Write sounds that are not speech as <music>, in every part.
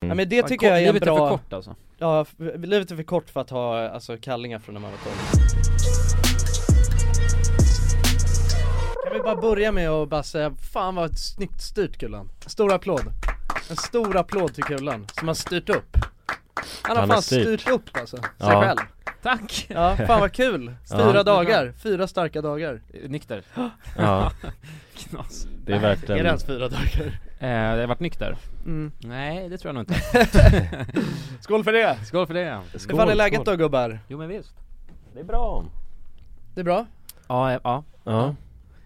Mm. Ja, men det Fan, tycker kort- jag är en Livet är för bra, kort alltså ja, f- livet är för kort för att ha alltså kallingar från när man var 12 Kan vi bara börja med att bara säga, fan vad snyggt styrt Kulan Stor applåd En stor applåd till Kulan, som har styrt upp Han har Han har fan styrt. styrt. upp alltså, sig Ja. själv Tack! <laughs> Ja, fan vad kul! Fyra Ja. dagar, fyra starka dagar Eh, Nykter Ja, Knas det är värt Är det en... ens fyra dagar? eh, Jag har varit nykter? Mm. Nej, det tror jag nog inte Skål för det! Skål för det! Hur fan är läget då gubbar? <laughs> Jo men visst Det är bra Det är bra? Ja, eh, ja, Ja,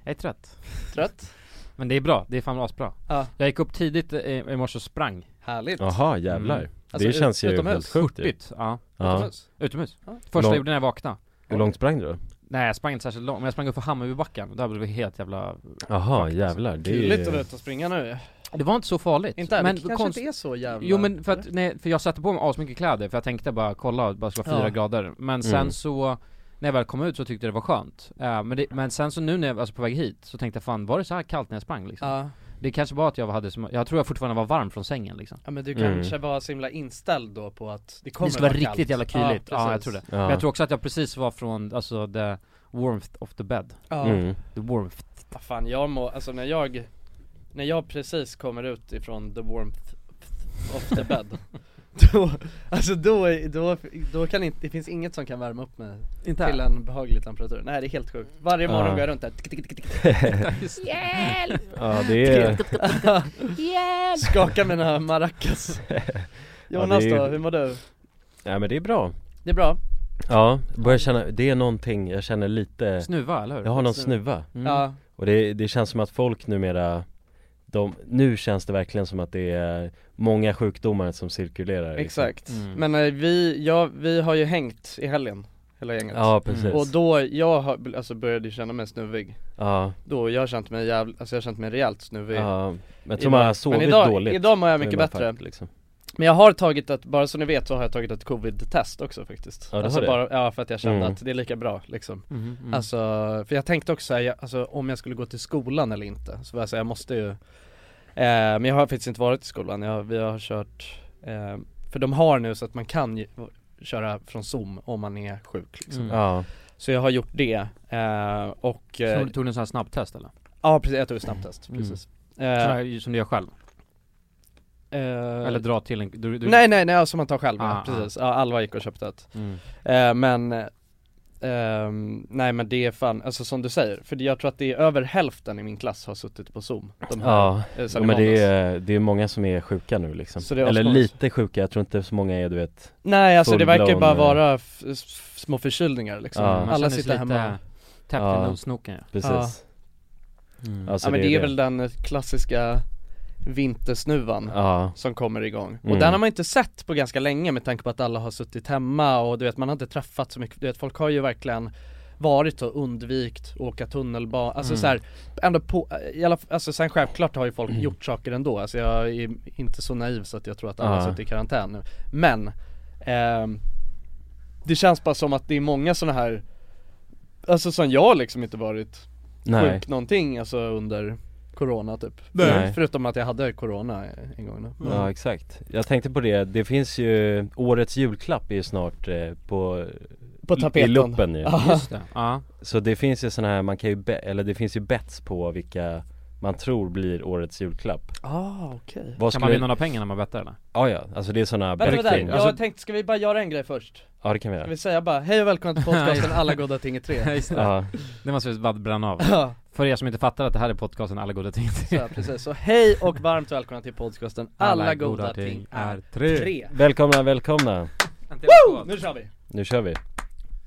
jag är trött Trött? Men det är bra, det är fan asbra Ja. Jag gick upp tidigt eh, i morse och sprang Härligt! jaha jävlar Mm. Alltså, Det känns ju utomhus. helt sjukt ju. Bytt, ja, ja. Utomhus? utomhus Ja. Första Lång- jag gjorde när jag vaknade Hur långt sprang du då? Nej jag sprang inte särskilt långt, men jag sprang upp för Hammarbybacken och där blev det helt jävla Jaha jävlar, det är Kuligt att vara ju... ute och springa nu Det var inte så farligt Inte här, men det kanske konst- inte är så jävla Jo men för att, nej, för jag satte på mig asmycket kläder för jag tänkte bara kolla, bara ska vara fyra Ja. grader Men sen Mm. så, när jag väl kom ut så tyckte jag det var skönt Eh, men, det, men sen så nu när jag, alltså på väg hit, så tänkte jag fan var det så här kallt när jag sprang liksom? Ja, Det kanske var att jag hade som, jag tror jag fortfarande var varm från sängen liksom ja men du Mm. kanske var så himla inställd då på att det kommer Det skulle vara kallt. riktigt jävla kyligt, ja, jag precis. tror det Men Ja, jag tror också att jag precis var från, alltså the warmth of the bed Ja, mm. The warmth Vad fan jag mår, alltså när jag, när jag precis kommer ut ifrån the warmth of the <laughs> bed Då, alltså då, är- då, då kan inte, det finns inget som kan värma upp mig Inte till en behaglig temperatur Nej det är helt sjukt, varje morgon Ja. går jag runt där tick, tick, tick, tick, <laughs> ja det är... Skakar mina <laughs> maracas Jonas det är- då, hur mår du? Ja men det är bra Det är bra? Ja, börjar känna, det är någonting, jag känner lite Snuva, eller hur? Jag har någon Snuva. snuva Mm. Ja, Och det, det känns som att folk numera de, Nu känns det verkligen som att det är många sjukdomar som cirkulerar liksom. exakt Mm. Men eh, vi, ja, vi har ju hängt i helgen, hela gänget Ja precis Och då, jag har, alltså började ju känna mig snuvig Ja, Då, jag har känt mig jävla, alltså jag har känt mig rejält snuvig ja Men jag tror idag. man har sovit Men idag, dåligt idag mår jag Nu mycket är man bättre fakt, liksom. Men jag har tagit ett, bara så ni vet så har jag tagit ett covid-test också faktiskt Ja, du har Alltså det? bara, ja för att jag kände Mm. att det är lika bra liksom Mm, mm. Alltså, för jag tänkte också såhär, alltså om jag skulle gå till skolan eller inte Så var jag såhär, jag måste ju eh, Men jag har faktiskt inte varit i skolan, jag, vi har kört eh, För de har nu så att man kan ju köra från zoom om man är sjuk liksom. Mm. Ja, Så jag har gjort det eh, och eh, Så Tog du en sån här snabbtest eller? Ja precis, jag tog ett snabbtest, Mm. precis Sån eh, här, som du gör själv? eh, Eller dra till en, du, du... Nej nej nej, ja, som man tar själv, Ah, ja, precis. Ja, Alva gick och köpte ett Mm. eh, Men, eh, ehm, nej men det är fan, alltså som du säger, för det- jag tror att det är över hälften i min klass har suttit på zoom de här, ja. eh, ja sedan i men det måndags. är, det är många som är sjuka nu liksom Så det är Eller asmånga. lite sjuka, jag tror inte så många är du vet Nej alltså det verkar ju full-blown, bara eh, vara f- f- små förkylningar liksom, Ja. Man alla känner sig sitter lite hemma Täppt Ja. i nosnoken ja. Precis Mm. Ja. Alltså, Ja men det är väl den klassiska vintersnuvan Ja, som kommer igång. Mm. Och den har man inte sett på ganska länge med tanke på att alla har suttit hemma och du vet man har inte träffat så mycket, du vet folk har ju verkligen varit och undvikt åka tunnelbana, alltså Mm. så här, ändå på, i alla, alltså sen självklart har ju folk Mm. gjort saker ändå, alltså jag är inte så naiv så att jag tror att alla Ja. har suttit i karantän nu. Men, ehm, det känns bara som att det är många sådana här, alltså som jag liksom inte varit nej sjuk någonting alltså under Corona typ Nej. Förutom att jag hade Corona en gång nu Ja exakt, jag tänkte på det, det finns ju, årets julklapp är ju snart eh, på, På tapeten i luppen ju <laughs> Ja. Just det, ja. Så det finns ju sådana här, man kan ju, be- eller det finns ju bets på vilka man tror blir årets julklapp Ah okej okay. Vad Kan skulle, man vinna några pengar när man bettar eller? ja ja, alltså det är sådana Vänta betting vänta, jag alltså, tänkte, ska vi bara göra en grej först? Ja det kan vi Ska göra vi säga bara, hej och <laughs> välkomna till podcasten Alla goda ting är tre just Ja, Det måste vi bara bränna av <laughs> Ja, För er som inte fattar att det här är podcasten Alla goda ting så här, precis, så hej och varmt välkomna till podcasten Alla, goda, ting är tre, tre välkomna, välkomna! Woo! Nu kör vi! Nu kör vi!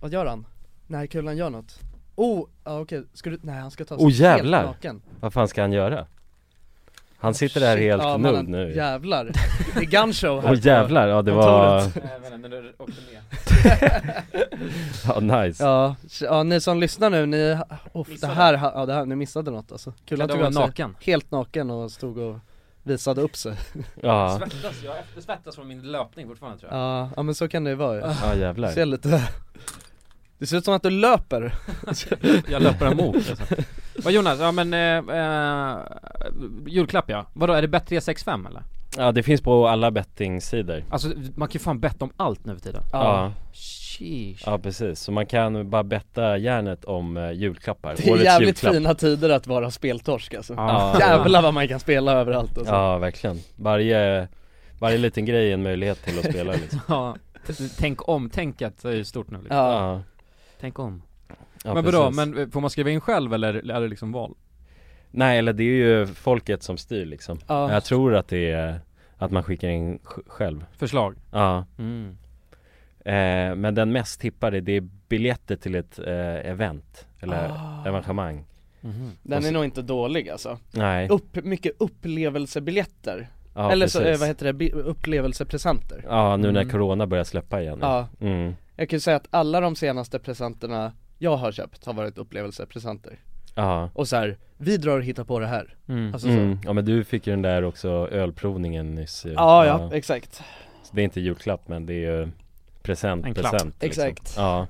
Vad gör han? Nej kulan gör något Oh, ja okej, ska du, nej han ska ta Oh, jävlar. helt naken Vad fan ska han göra? Han sitter där Shit, helt ja, nude mannen, nu ju. Jävlar, det är <laughs> gunshow här Åh jävlar, ja det var, Kontoret. <laughs> Eh, ja nice Ja, ja ni som lyssnar nu, ni, oh, det, här, ja, det här, ni missade något alltså Kulan Kulan tog var av sig naken helt naken och stod och visade upp sig Ja, Svettas, jag efter- svettas från min löpning fortfarande tror jag Ja, ja men så kan det ju vara ju. ja jävlar Ser lite Det ser ut som att du löper <laughs> Jag löper emot alltså. Vad Jonas, ja men eh, eh, julklapp ja Vadå, är det bett 365 eller? Ja det finns på alla bettingsidor Alltså man kan ju fan betta om allt nu för tiden ja. Sheesh ja, precis. Så man kan bara betta järnet om eh, julklappar, Det är jävligt fina tider att vara speltorsk alltså Ja. Jävlar vad man kan spela överallt alltså. Ja verkligen, varje, varje liten grej är en möjlighet till att spela liksom Ja. Tänk om, tänket är ju stort nu <laughs> liksom. Ja. Ja, Tänk om ja Men vadå, precis. men eh, får man skriva in själv eller är det liksom val? Nej eller det är ju folket som styr liksom Ja. Jag tror att det är att man skickar in sj- själv Förslag? Ja, Mm. eh, men den mest tippade det är biljetter till ett eh, event eller Ah. evenemang Mm-hmm. Den är nog inte dålig alltså. Nej, Upp, mycket upplevelsebiljetter, ja, eller så, eh, precis. vad heter det, Bi- upplevelsepresenter Ja nu när Mm. corona börjar släppa igen Ja, mm. jag kan ju säga att alla de senaste presenterna jag har köpt har varit upplevelsepresenter Ja, Och så här, vi drar och hittar på det här Mm. Alltså så mm. ja men du fick ju den där också ölprovningen nyss ju. Ja, Ah, ja, exakt. Så det är inte julklapp men det är ju present, En klapp. present liksom. Exakt. Ja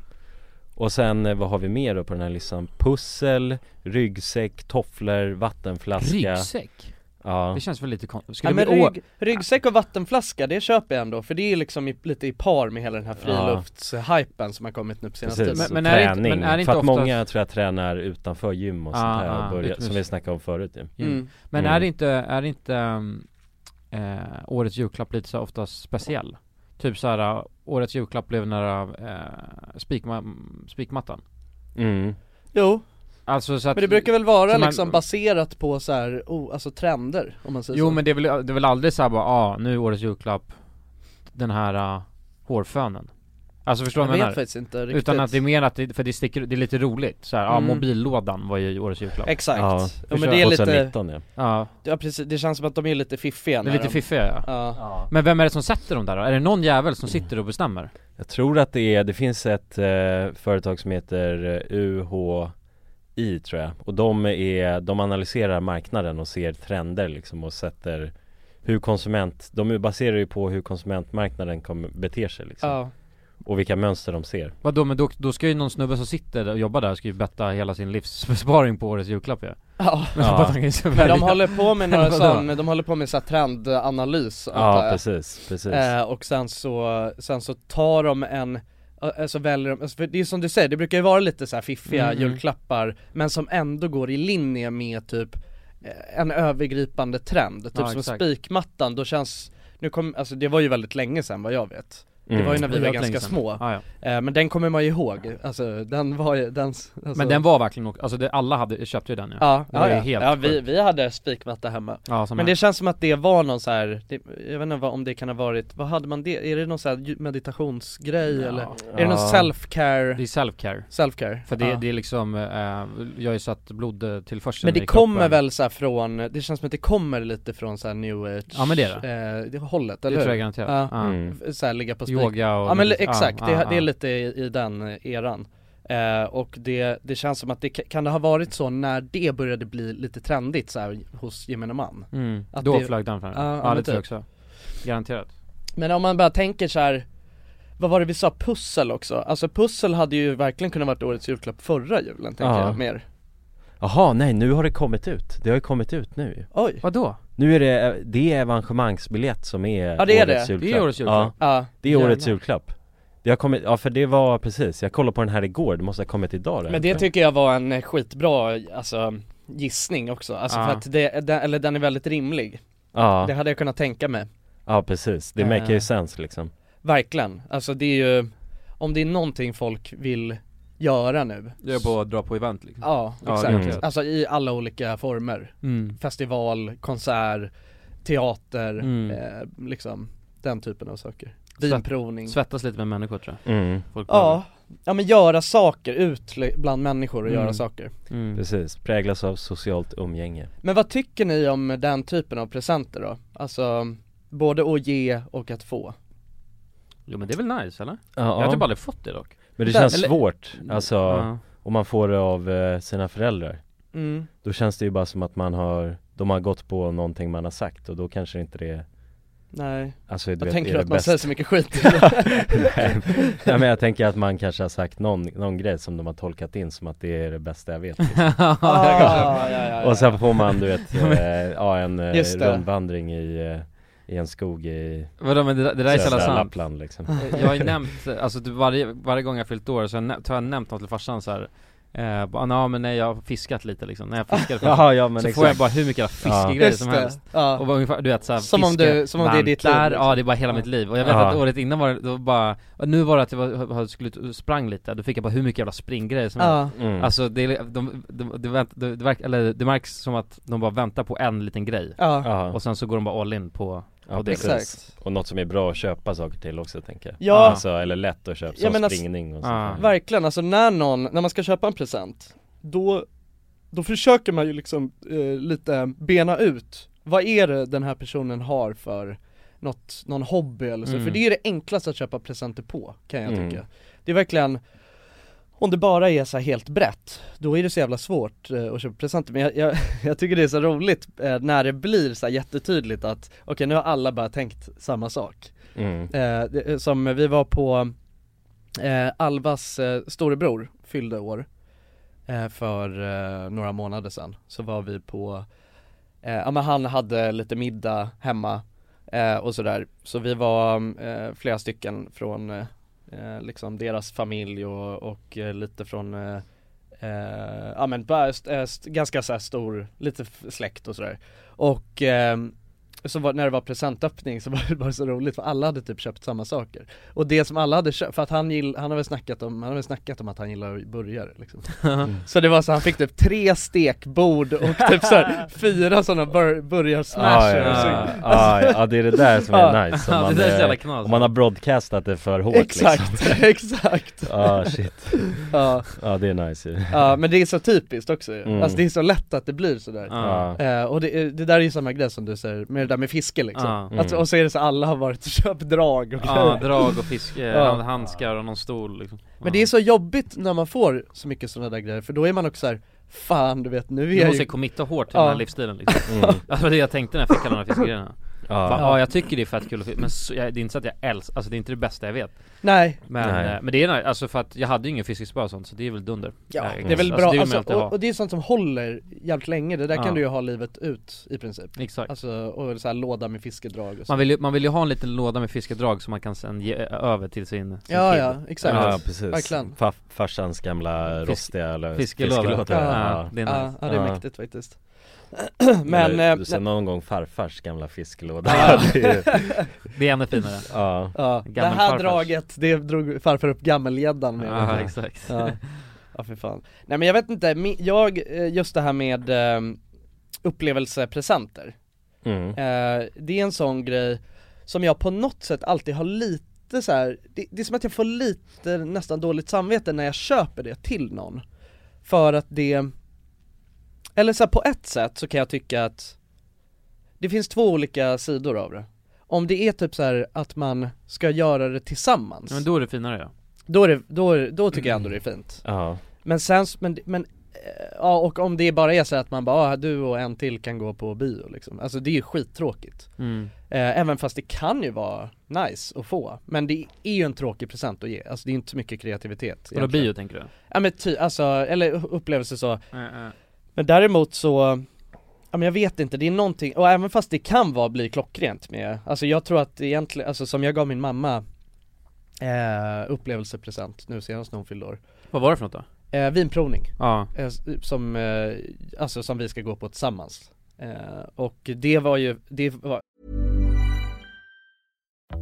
Och sen eh, vad har vi mer då på den här listan? Pussel, ryggsäck, tofflor, vattenflaska Ryggsäck? Ja, Det känns väl lite konstigt? Ska Alltså, Ja, det men bli å- rygg, ryggsäck och vattenflaska, det köper jag ändå, för det är liksom i, lite i par med hela den här friluftshypen som har kommit nu på senaste precis, tiden Men- och men är det inte- träning men är det För inte att ofta- många tror jag tränar utanför gym och sånt Ah, här ah, och börjar, utomhus. som vi snackade om förut ju mm. Men Mm. är det inte, är det inte ehm, eh, årets julklapp lite så här oftast speciell? Typ så här, eh, årets julklapp blev nära eh, spikma- spikmattan mm. Jo, Alltså så att, men det brukar väl vara så man- liksom baserat på så här, oh, alltså trender om man säger Jo så men det är väl, det är väl aldrig såhär bara, ah, nu är årets julklapp den här uh, hårfönen Alltså förstår du jag vad vet jag menar? faktiskt inte riktigt Utan att det är mer att det, för det sticker, det är lite roligt såhär, ja ah, Mm. mobillådan var ju årets julklapp Exakt, Ja. ja, men det är lite, 2019 ja Ja, ja precis, det känns som att de är lite fiffiga det när är lite de, fiffiga ja. Ja, Men vem är det som sätter dem där då? Är det någon jävel som sitter och bestämmer? Jag tror att det är, det finns ett eh, företag som heter eh, UHI tror jag Och de är, de analyserar marknaden och ser trender liksom och sätter hur konsument, de baserar ju på hur konsumentmarknaden kommer, beter sig liksom ja, Och vilka mönster de ser Vadå men då, då ska ju någon snubbe som sitter där och jobbar där ska ju betta hela sin livsbesparing på årets julklapp ju ja Men Ja. <laughs> bara att han kan ju Men välja. de håller på <laughs> med några Vadå? sån, de håller på med så här trendanalys antar Ja jag. precis, precis Eh, och sen så, sen så tar de en eh, så väljer de, alltså för det är som du säger, det brukar ju vara lite så här fiffiga Mm. julklappar men som ändå går i linje med typ eh, en övergripande trend, typ Ja, som exakt. spikmattan, då känns, nu kom, alltså det var ju väldigt länge sedan vad jag vet, det var ju Mm. när vi Mm. Det var var länge ganska sedan. små, ah, ja. eh, men den kommer man ju ihåg, alltså den var ju, den, s- alltså, Men den var verkligen, ok- alltså det, alla hade, köpte ju den ju ja, det var ja, ju ja. helt ja vi, sjukt. vi hade spikmatta hemma Ja, som men men det känns som att det var någon så här, det, jag vet inte vad, om det kan ha varit, vad hade man det, är det någon så här ju- meditationsgrej Ja. eller? Är det Ja. någon det self-care, är self-care self-care? För det, Ja. det är liksom, eh, jag har ju satt blodtillförseln men i det kroppen. kommer väl så här från, det känns som att det kommer lite från så här new age Ja, men det är eh, det hållet, Det eller tror jag hur? garanterat Ja. Ja. Mm. F- Så här ligga på spik Yoga och Ja men li- medit- exakt, ja, det, ja, det ja. är lite i, i den eh, eran eh, Och det, det känns som att det, kan det ha varit så när det började bli lite trendigt så här hos gemene man? mm. att Då det- flög den fram Ja, ja, Ja, men det tror jag typ. också Garanterat Men om man bara tänker så här. Vad var det vi sa, pussel också? Alltså pussel hade ju verkligen kunnat varit årets julklapp förra julen tänker Ja. jag mer Jaha, nej nu har det kommit ut, det har ju kommit ut nu ju. Oj! Vadå? Nu är det, det är evangemangssbiljett som är Ja, det är årets det. julklapp Det är årets julklapp. Ja. Ja, Det är årets Jävlar. julklapp Det har kommit, ja för det var precis, jag kollade på den här igår, det måste ha kommit idag men det tror jag. tycker jag var en eh, skitbra alltså, gissning också, alltså Ja. för att det, den, eller den är väldigt rimlig Det Ja, hade jag kunnat tänka mig, ja precis, det Eh. maker ju sens liksom verkligen Alltså det är ju, om det är någonting folk vill göra nu Det är på att dra på event liksom Ja, Ja, exakt, garanterat. alltså i alla olika former mm. Festival, konsert, teater, Mm. eh, liksom den typen av saker Svett- Vinprovning Svettas lite med människor tror mm. jag Folk Mm. Ja, ja men göra saker, ut li- bland människor och Mm. göra saker mm. Precis, präglas av socialt umgänge Men vad tycker ni om den typen av presenter då? Alltså, både att ge och att få Jo men det är väl nice eller? Jag har Ja, typ aldrig fått det dock men det Där- känns eller- svårt, alltså Ja. om man får det av eh, sina föräldrar mm. Då känns det ju bara som att man har, de har gått på någonting man har sagt och då kanske inte det, Nej, alltså du jag vet, tänker är det att man bäst- säger så <laughs> mycket skit Nej, Nej men jag tänker att man kanske har sagt någon, någon grej som de har tolkat in som att det är det bästa jag vet ah, ja, ja, ja, ja. Och sen får man du vet, eh, ja en eh, Just det. rundvandring i eh, i en skog i <laughs> Vadå men det, där- det där är så jävla södra sant Lappland liksom Eh, Jag har ju nämnt, alltså typ varje, varje gång jag fyllt år så har jag, nä- har jag nämnt något till farsan så här. Eh, bara, ja men nej jag har fiskat lite liksom, när <laughs> jag fiskade förra Jaha, ja men Så exakt får jag bara hur mycket jävla fiskegrejer Just som det. helst Ja. och bara ungefär, du vet såhär, Som om du- som om det är ditt liv, Där, liksom. ja det är bara hela mitt liv och jag vet Ja. att året innan var det, då bara, nu var det att jag var, jag skulle, ut- sprang lite, då fick jag bara hur mycket jävla springgrejer som helst Ja. mm. Alltså det, är- de, de, de, vänt, de, de verk, eller, det märks som att de bara väntar på en liten grej Ja. ja, och sen så går de bara all <laughs> in på, <laughs> ja, och det- precis. Exakt. Och något som är bra att köpa saker till också tänker jag Ja. Alltså, eller lätt att köpa, Jag som menar, springning och sånt ah. där. Verkligen, alltså när någon, när man ska köpa en present, då, då försöker man ju liksom eh, lite bena ut, vad är det den här personen har för något, någon hobby eller så, Mm. för det är det enklaste att köpa presenter på kan jag Mm. tycka Det är verkligen, om det bara är så här helt brett, då är det så jävla svårt eh, att köpa presenter men jag, <laughs> jag, jag tycker det är så roligt eh, när det blir så här jättetydligt att, okej nu har alla bara tänkt samma sak mm. eh, det- som vi var på eh, Alvas eh, storebror fyllde år eh, för eh, några månader sedan så var vi på, eh, ja men han hade lite middag hemma eh, och sådär så vi var eh, flera stycken från eh, eh, liksom deras familj och, och eh, lite från eh, eh, ja men bara st- eh, st- ganska så här stor, lite f- släkt och sådär och ehm, så var, när det var presentöppning så <laughs> var det bara så roligt för alla hade typ köpt samma saker Och det som alla hade köpt, för att han gill, han har väl snackat om, han har väl snackat om att han gillar burgare liksom <laughs> Mm. Så det var så, han fick typ tre stekbord och typ så här, fyra sådana bur, ah, burgarsmasher ja, och så- ja, ah, ja, det är det där som Ja. är nice om Alltså- Ja, man, det där är så eh, jävla knas om man har broadcastat det för hårt liksom <laughs> Exakt, exakt! Ja ah, shit, Ja, ja ah, det är nice ju ja, men det är så typiskt också ju. Mm. Alltså det är så lätt att det blir sådär Ah. Ja. Eh, och det, är- det där är ju samma grej som du säger med det där med fiske liksom. Ja. Att, Mm. Ah, och så är det så alla har varit och köpt drag och Ja, grejer. drag och fiske, Ja. hand- handskar och någon stol liksom. Men det är så jobbigt när man får så mycket sådana där grejer för då är man också så här, fan du vet nu är Du jag måste ju... ju committa hårt till Ja. den här livsstilen <laughs> liksom <laughs> mm. Alltså det var det jag tänkte när jag fick alla de här fiskegrejerna Fan, ah. Ja jag tycker det är fett kul att fiska, men så, jag, det är inte så att jag älskar, alltså det är inte det bästa jag vet Nej, Men, Nej. eh, men det är nice, alltså för att jag hade ju ingen fiskespö och sånt så det är väl dunder ja, Eh, det är väl alltså, bra, det vill alltså, man alltid och, ha. och det är sånt som håller jävligt länge, det där Ja. kan du ju ha livet ut i princip Exakt Alltså, och så här låda med fiskedrag och så man vill, ju, man vill ju ha en liten låda med fiskedrag som man kan sen ge ö- över till sin, sin Ja kid. ja, exakt Ja precis, Verkligen. Fa- farsans gamla Fisk- rostiga lös- Fiskelåda. fiskelåda. Ja. Ja. det är nice Ja, ja det är Ja. mäktigt <clears throat> faktiskt Men, Men, Eller, eh, du ser någon gång farfars gamla fiskelåda Ja. <laughs> Det är ju- Det är <laughs> ännu finare Ja, ja, det här Gammelfarfars. draget, det drog farfar upp gammelgäddan med Ja exakt Ja, ja för fan. Nej men jag vet inte, min- jag, eh, just det här med eh, upplevelsepresenter, mm. eh, det är en sån grej som jag på något sätt alltid har lite så här. Det, det är som att jag får lite nästan dåligt samvete när jag köper det till någon. För att det, eller så här, på ett sätt så kan jag tycka att det finns två olika sidor av det. Om det är typ så här att man ska göra det tillsammans, Men då, då är det finare ja är det, då, är- då tycker jag ändå det är fint. ja, Men sen, men, men eh, ja och om det bara är så att man bara, ah, du och en till kan gå på bio liksom. Alltså det är ju skittråkigt. mm. Eh, även fast det kan ju vara nice att få. Men det är ju en tråkig present att ge, alltså det är inte så mycket kreativitet Vadå bio tänker du? Ja men ty, alltså, eller u- upplevelse så. Eh, eh. Men däremot så, ja men jag vet inte, det är någonting, och även fast det kan vara, bli klockrent med, alltså jag tror att egentligen, alltså som jag gav min mamma eh, upplevelsepresent nu senast när hon fyllde år. Vad var det för något då? Eh, vinprovning. Ja, Eh, som, eh, alltså som vi ska gå på tillsammans. Eh, och det var ju, det var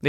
Det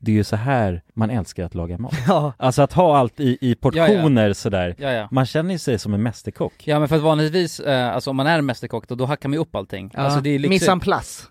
det är ju så här man älskar att laga mat. Ja, Alltså att ha allt i, i portioner sådär. Ja, ja. Man känner ju sig som en mästerkock. Ja men för att vanligtvis, eh, alltså om man är en mästerkock då, då hackar man ju upp allting. Alltså det är liksom, Missan plats.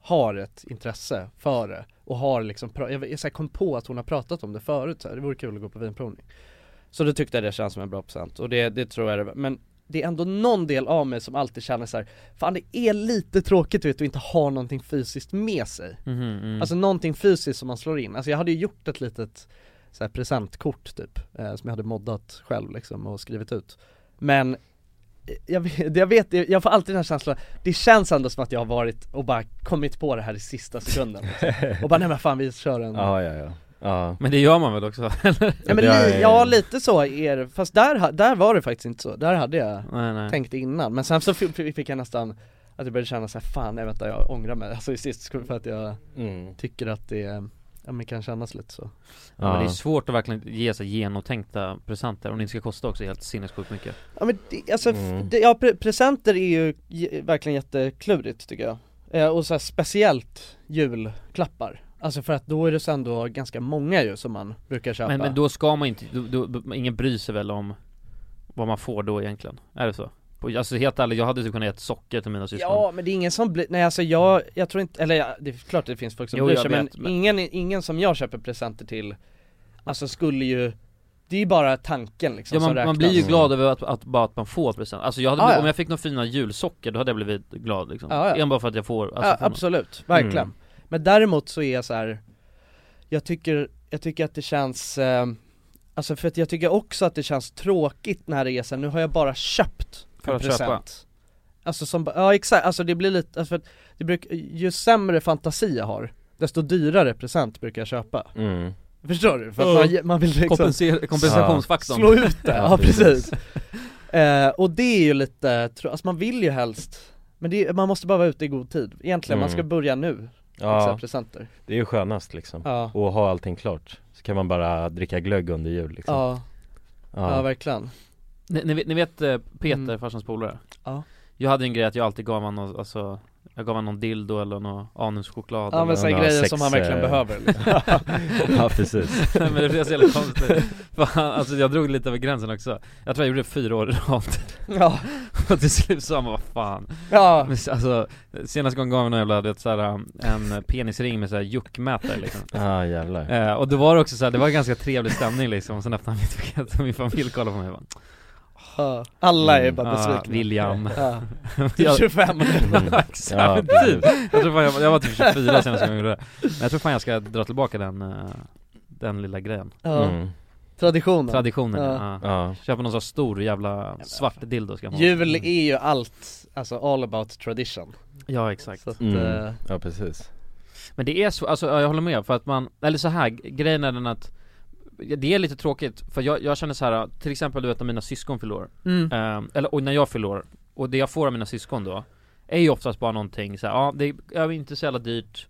har ett intresse för det och har liksom, pra- jag, jag så här kom på att hon har pratat om det förut så här. det vore kul att gå på vinprovning Så då tyckte jag det känns som en bra present och det, det tror jag det var. men det är ändå någon del av mig som alltid känner så här, fan det är lite tråkigt du vet att inte ha någonting fysiskt med sig Alltså någonting fysiskt som man slår in, alltså jag hade ju gjort ett litet så här, presentkort typ, eh, som jag hade moddat själv liksom och skrivit ut Men eh, jag vet, jag, vet, jag får alltid den här känslan, det känns ändå som att jag har varit och bara kommit på det här i sista sekunden liksom. Och bara nej men fan vi kör en Ja, ja, ja. ja. Men det gör man väl också? <laughs> eller? ja, men det li, är- ja lite så är det, fast där, ha- där var det faktiskt inte så, där hade jag nej, nej. tänkt innan Men sen så f- f- fick jag nästan att jag började känna så här, fan nej vänta jag ångrar mig, alltså i sist sekund för att jag Mm. tycker att det, ja men kan kännas lite så Ja. Men det Ja. är svårt att verkligen ge sig genotänkta presenter om det inte ska kosta också helt sinnessjukt mycket Ja men det, alltså, f- Mm. det, ja, pre- presenter är ju j- verkligen jätteklurigt tycker jag eh, Och så här, speciellt julklappar Alltså för att då är det så ändå ganska många ju som man brukar köpa men, men då ska man inte, då, då, ingen bryr sig väl om vad man får då egentligen? Är det så? På- Alltså helt ärligt, jag hade typ kunnat ge ett socker till mina syskon Ja men det är ingen som blir, nej alltså jag, jag tror inte, eller ja, det är klart det finns folk som Jo, bryr jag sig men, vet, men- Ingen, ingen som jag köper presenter till Alltså skulle ju, det är ju bara tanken liksom Ja som man, räknas man blir ju Mm. glad över att, att, bara att man får present, alltså jag hade, Ah, blivit- ja. Ah, om jag fick några fina julsocker då hade jag blivit glad liksom, Ja, ja. enbart för att jag får, alltså, ja, får något. absolut, verkligen. Mm. Men däremot så är jag så här. jag tycker, jag tycker att det känns, eh, alltså för att jag tycker också att det känns tråkigt när det är så här, nu har jag bara köpt För en att köpa. Alltså som, ba- ja exakt, alltså det blir lite, alltså för att det bruk, ju sämre fantasi jag har, desto dyrare present brukar jag köpa. <laughs> Mm. Förstår du? För att man, man vill liksom Kompenser- kompensationsfaktorn slå ut det, Ja, ja precis eh, Och det är ju lite, tro- alltså man vill ju helst men det, är- man måste bara vara ute i god tid, egentligen man ska Mm. börja nu ja. Ja, presenter det är ju skönast liksom. ja. Och ha allting klart. Så kan man bara dricka glögg under jul liksom. Ja, ja, Ja. verkligen Ni, ni, vet- ni vet eh, Peter, Mm. farsans polare? Ja. Jag hade en grej att jag alltid gav honom, alltså Jag gav honom någon dildo eller någon anuschoklad Ja eller men såhär har grejer sex, som han verkligen eh, behöver liksom. ja, precis. <laughs> Nej men det blev så jävla konstigt, För han- alltså jag drog lite över gränsen också Jag tror jag gjorde det fyra år i rad, <laughs> Ja, och till slut sa man vad fan ja, Men Alltså, senaste gången gav vi någon jävla, du vet, så här, um, en penisring med såhär juckmätare liksom Ja, <laughs> jävlar. eh, Och det var det också såhär, det var ganska trevlig stämning liksom, och sen öppnade han mitt paket och min familj kollade på mig och bara, ja. alla är Mm. bara ah, besvikna William Ja, Jag- typ <laughs> 25 Mm. Exakt, Ja, men typ. Jag tror fan jag, var- jag var typ 24 senast jag gjorde det Men jag tror fan jag ska dra tillbaka den, eh, den lilla grejen ja. <laughs> Mm. Traditionen Traditionen Ja. ja. Ja. Köpa någon sån stor jävla svart dildo ska man ha. Jul är ju allt, alltså all about tradition Ja exakt Så att, Mm. eh, ja, precis. Men det är så, alltså ja, jag håller med för att man, eller så här grejen är den att det är lite tråkigt, för jag, jag känner så här till exempel du vet när mina syskon fyller år, mm. eh, eller och när jag fyller år, och det jag får av mina syskon då Är ju oftast bara någonting så här, ja det är ja, det är inte så jävla dyrt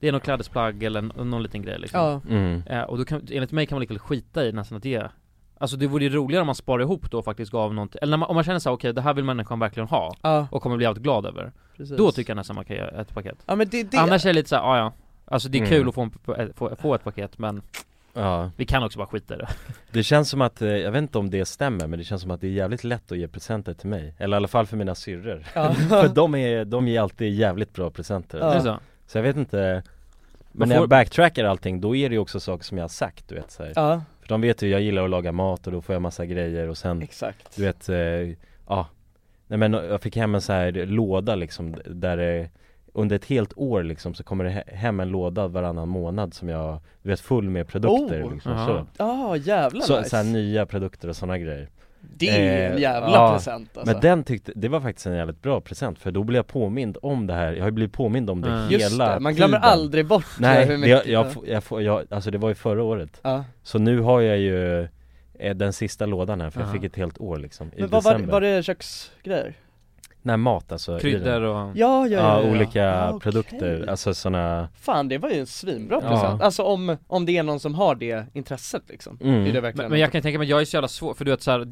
Det är något klädesplagg eller n- någon liten grej liksom Ja, Mm. Eh, och då kan, enligt mig kan man lika väl skita i nästan att ge Alltså det vore ju roligare om man sparar ihop då och faktiskt gav någonting, eller när man, om man känner såhär okej det här vill människan verkligen ha ja, och kommer bli jävligt glad över precis Då tycker jag nästan man kan ge ett paket Ja men det, det Annars är det lite såhär, ah, ja Alltså det är Mm. kul att få, en, p- få, få ett paket men Ja. vi kan också bara skita i det Det känns som att, eh, jag vet inte om det stämmer, men det känns som att det är jävligt lätt att ge presenter till mig. Eller i alla fall för mina syrror. ja. för de, är, de ger alltid jävligt bra presenter. Ja. Är det så? Så jag vet inte Man Men när får- jag backtrackar allting, då är det ju också saker som jag har sagt du vet så här. ja, För de vet ju, jag gillar att laga mat och då får jag massa grejer och sen exakt Du vet, eh, ja Nej men jag fick hem en så här låda liksom där det och under ett helt år liksom så kommer det he- hem en låda varannan månad som jag, du vet full med produkter Oh! liksom, Aha. så. Ja, jävla Så, nice. så här, nya produkter och sådana grejer det är ju en eh, jävla ja, present alltså. Men den tyckte, det var faktiskt en jävligt bra present för då blev jag påmind om det här, jag har ju blivit påmind om det Mm. hela Just det, man glömmer tiden. aldrig bort eh, Nej, hur det, jag, mycket jag, får- jag, får- jag, alltså det var ju förra året ja. Så nu har jag ju eh, den sista lådan här för Aha. jag fick ett helt år liksom i Men vad var, december var det köksgrejer? Nej mat alltså i den. Kryddor och... Ja, ja, Ja, ja, ja, ja. olika Ah, okej. produkter, alltså sådana Fan det var ju en svinbra Ja. present, alltså om, om det är någon som har det intresset liksom Mm. Är det verkligen Men, men jag kan tänka mig, jag är så jävla svår, för du vet såhär,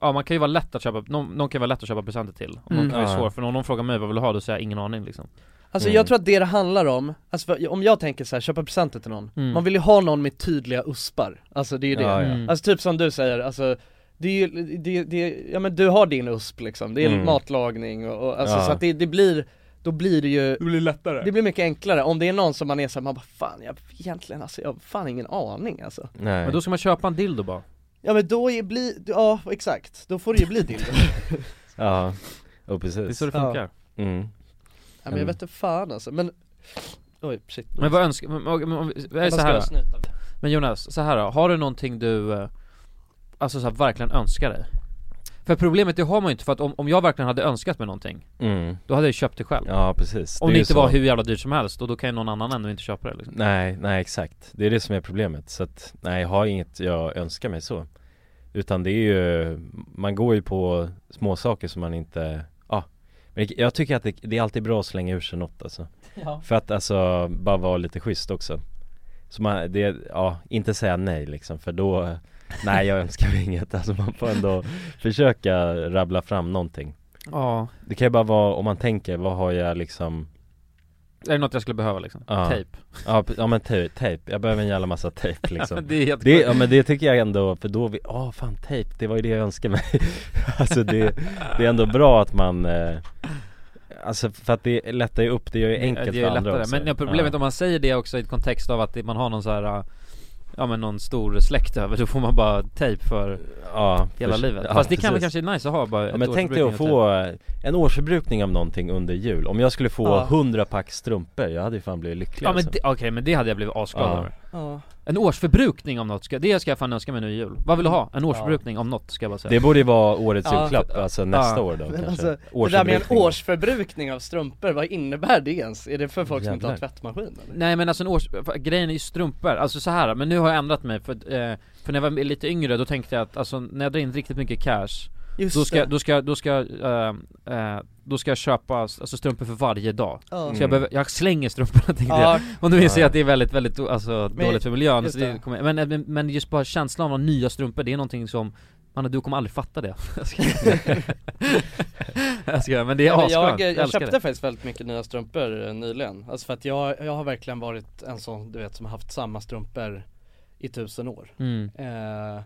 ja man kan ju vara lätt att köpa, någon, någon kan vara lätt att köpa presenter till, och någon Mm. kan vara Ja. svår, för om någon frågar mig vad vill du ha, då säger jag ingen aning liksom Alltså Mm. jag tror att det det handlar om, alltså för, om jag tänker så här, köpa presenter till någon, Mm. man vill ju ha någon med tydliga uspar, alltså det är ju det Ja, ja. Mm. Alltså typ som du säger, alltså det är ju, det, det, ja men du har din USP liksom, det är Mm. matlagning och, och alltså Ja. så att det, det blir, då blir det ju Det blir lättare. det blir mycket enklare om det är någon som man är såhär, man bara fan jag egentligen alltså, jag har fan ingen aning alltså Nej Men då ska man köpa en dildo bara Ja men då är, bli, ja exakt, då får det ju bli <laughs> dildo Ja, och Det är precis så det Ja. funkar mm. Ja men jag vet inte fan alltså, men Oj shit Men vad önskar, men, men, men, men, Man så ska här, ha då. snut av det. men Jonas, så här då, har du någonting du, eh, alltså så här, verkligen önskar dig? För problemet det har man ju inte, för att om, om jag verkligen hade önskat mig någonting, Mm. då hade jag ju köpt det själv Ja precis Om är det ju inte så. var hur jävla dyrt som helst, och då kan ju någon annan ändå inte köpa det liksom. Nej, nej exakt. Det är det som är problemet. Så att, nej jag har inget jag önskar mig så. Utan det är ju, man går ju på små saker som man inte, ja. Men det- jag tycker att det, det är alltid bra att slänga ur sig något alltså. Ja. För att alltså, bara vara lite schysst också. Så man, det, ja, inte säga nej liksom för då, nej jag önskar mig inget. Alltså man får ändå försöka rabbla fram någonting. Ja, Det kan ju bara vara, om man tänker, vad har jag liksom är det något jag skulle behöva liksom? Ja. Tejp Ja, p- ja men te- tejp, jag behöver en jävla massa tejp <laughs> liksom Det är helt det, Ja men det tycker jag ändå, för då, vi- ah fan tejp, det var ju det jag önskade mig <laughs> Alltså det, det är ändå bra att man eh, Alltså för att det lättar ju upp, det gör ju enkelt det är för andra lättare. också Men ja, problemet ja. om man säger det också i ett kontext av att det- man har någon så här äh, Ja men någon stor släkt över, <laughs> då får man bara tejp för ja, hela för- livet ja, Fast det kan väl precis. kanske är nice att ha bara ja, ett men års tänk dig att förbrukning få av en årsförbrukning av någonting under jul Om jag skulle få Ja. 100 pack strumpor, jag hade ju fan blivit tejp. lycklig typ- Ja men alltså. det- okej men det hade jag blivit asglad Ja. över Ja. En årsförbrukning av något, ska, det ska jag fan önska mig nu i jul Vad vill du ha? En årsförbrukning av något ska jag bara säga det borde ju vara årets Ja. julklapp, alltså nästa Ja. år då Men kanske alltså, det där med en Årsförbrukning. årsförbrukning av strumpor, vad innebär det ens? Är det för folk som inte har Jävlar. tvättmaskin eller? Nej men alltså en års... för- Grejen är ju strumpor, alltså så här men nu har jag ändrat mig för, att, eh, för när jag var lite yngre då tänkte jag att alltså, när jag drar in riktigt mycket cash Just Då ska, det. då ska, då ska, eh, eh, då ska jag köpa alltså, strumpor för varje dag Ja. Mm. Så jag, behöver, jag slänger strumporna <laughs> tänkte jag Ja, Och nu inser Ja. jag att det är väldigt, väldigt alltså, Men- dåligt för miljön just så det det. kommer, men, men- men just bara känslan av nya strumpor, det är någonting som man, du kommer aldrig fatta det <laughs> Jag ska- <laughs> Jag ska, men det är Ja, men jag, asskönt, jag, älskar köpte det. faktiskt väldigt mycket nya strumpor eh, nyligen Alltså för att jag, jag har verkligen varit en sån du vet som har haft samma strumpor i tusen år mm. eh,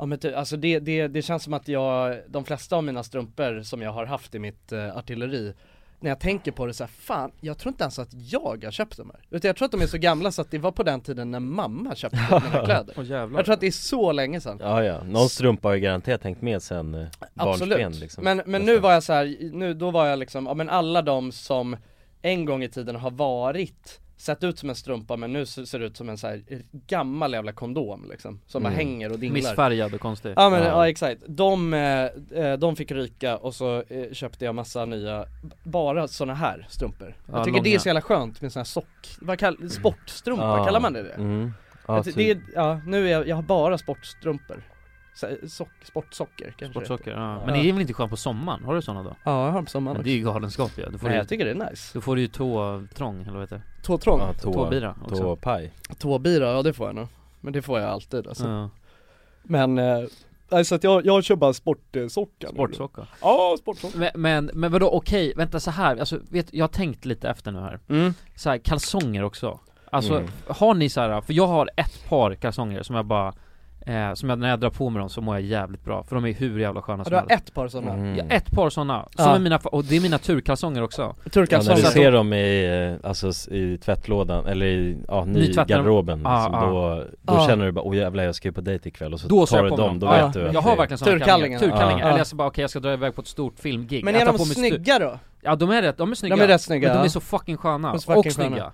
Ja men ty, alltså det, det, det känns som att jag, de flesta av mina strumpor som jag har haft i mitt eh, artilleri när jag tänker på det så här, fan, jag tror inte ens att jag har köpt dem här. Utan jag tror att de är så gamla så att det var på den tiden när mamma köpte <laughs> mina kläder. Åh, jävlar. Jag tror att det är så länge sedan. Ja, ja. Någon strumpa har ju garanterat hängt med sen eh, barnsben Absolut, liksom. men, men nu var jag så här, nu då var jag liksom, ja men alla de som en gång i tiden har varit, sett ut som en strumpa men nu ser ser det ut som en så här eh, gammal jävla kondom liksom, som bara Mm. hänger och dinglar Missfärgad och konstig Ja men ja, Ja. exakt, de, eh, eh, de fick ryka och så eh, köpte jag massa nya, b- bara såna här strumpor Ja, Jag tycker det är långa. så jävla skönt med såna här sock, vad kall, sportstrumpa, Ja. kallar man det det? Mm. Ja, Jag ty- det är, ja, nu är jag, jag har bara sportstrumpor Så här, Sock, sportsocker kanske Sportsocker, ja. Ja. Men det är väl inte skönt på sommaren? Har du sådana då? Ja, jag har på sommaren Men det är ju galenskap ju, då får, Nej du, jag tycker det är nice då får du ju tåtrång eller vad heter det? Tåtrång? Ja, tå, Tåbira också Tåpaj. Tåbira, ja det får jag nog Men det får jag alltid alltså Ja. Men, eh, nej, så att jag, jag kör bara sportsockar Sportsocker Ja, sportsockar Men, men, men vadå okej, vänta så här. alltså vet, jag har tänkt lite efter nu här mm. så här, kalsonger också Alltså, Mm. har ni så här, för jag har ett par kalsonger som jag bara eh, eh, Som jag, när jag drar på mig dem så mår jag jävligt bra, för de är hur jävla sköna Ja, som du har helst ett par sådana. Mm. Ja, ett par sådana, som Ja. är mina, fa- och det är mina turkalsonger också Ja, när Turkalsonger. du Så att- ser dem i, eh, alltså, s- i tvättlådan eller i ja, ny Nytvättade- garderoben Ah, liksom, ah. då, då Ah. känner du bara åh jävlar jag ska ju på dejt ikväll och så Då ser tar jag du på dem, dem. då Ah, vet ja. du att Jag har det- verkligen sådana Turkallingar. kallingar, turkallingar, Ja. eller jag så bara okej jag ska dra iväg på ett stort filmgig Men jag är tar de på mig stu- snygga då? Ja de är rätt, de är snygga, De är rätt snygga. men de ja. är så fucking sköna, De är och så fucking sköna. snygga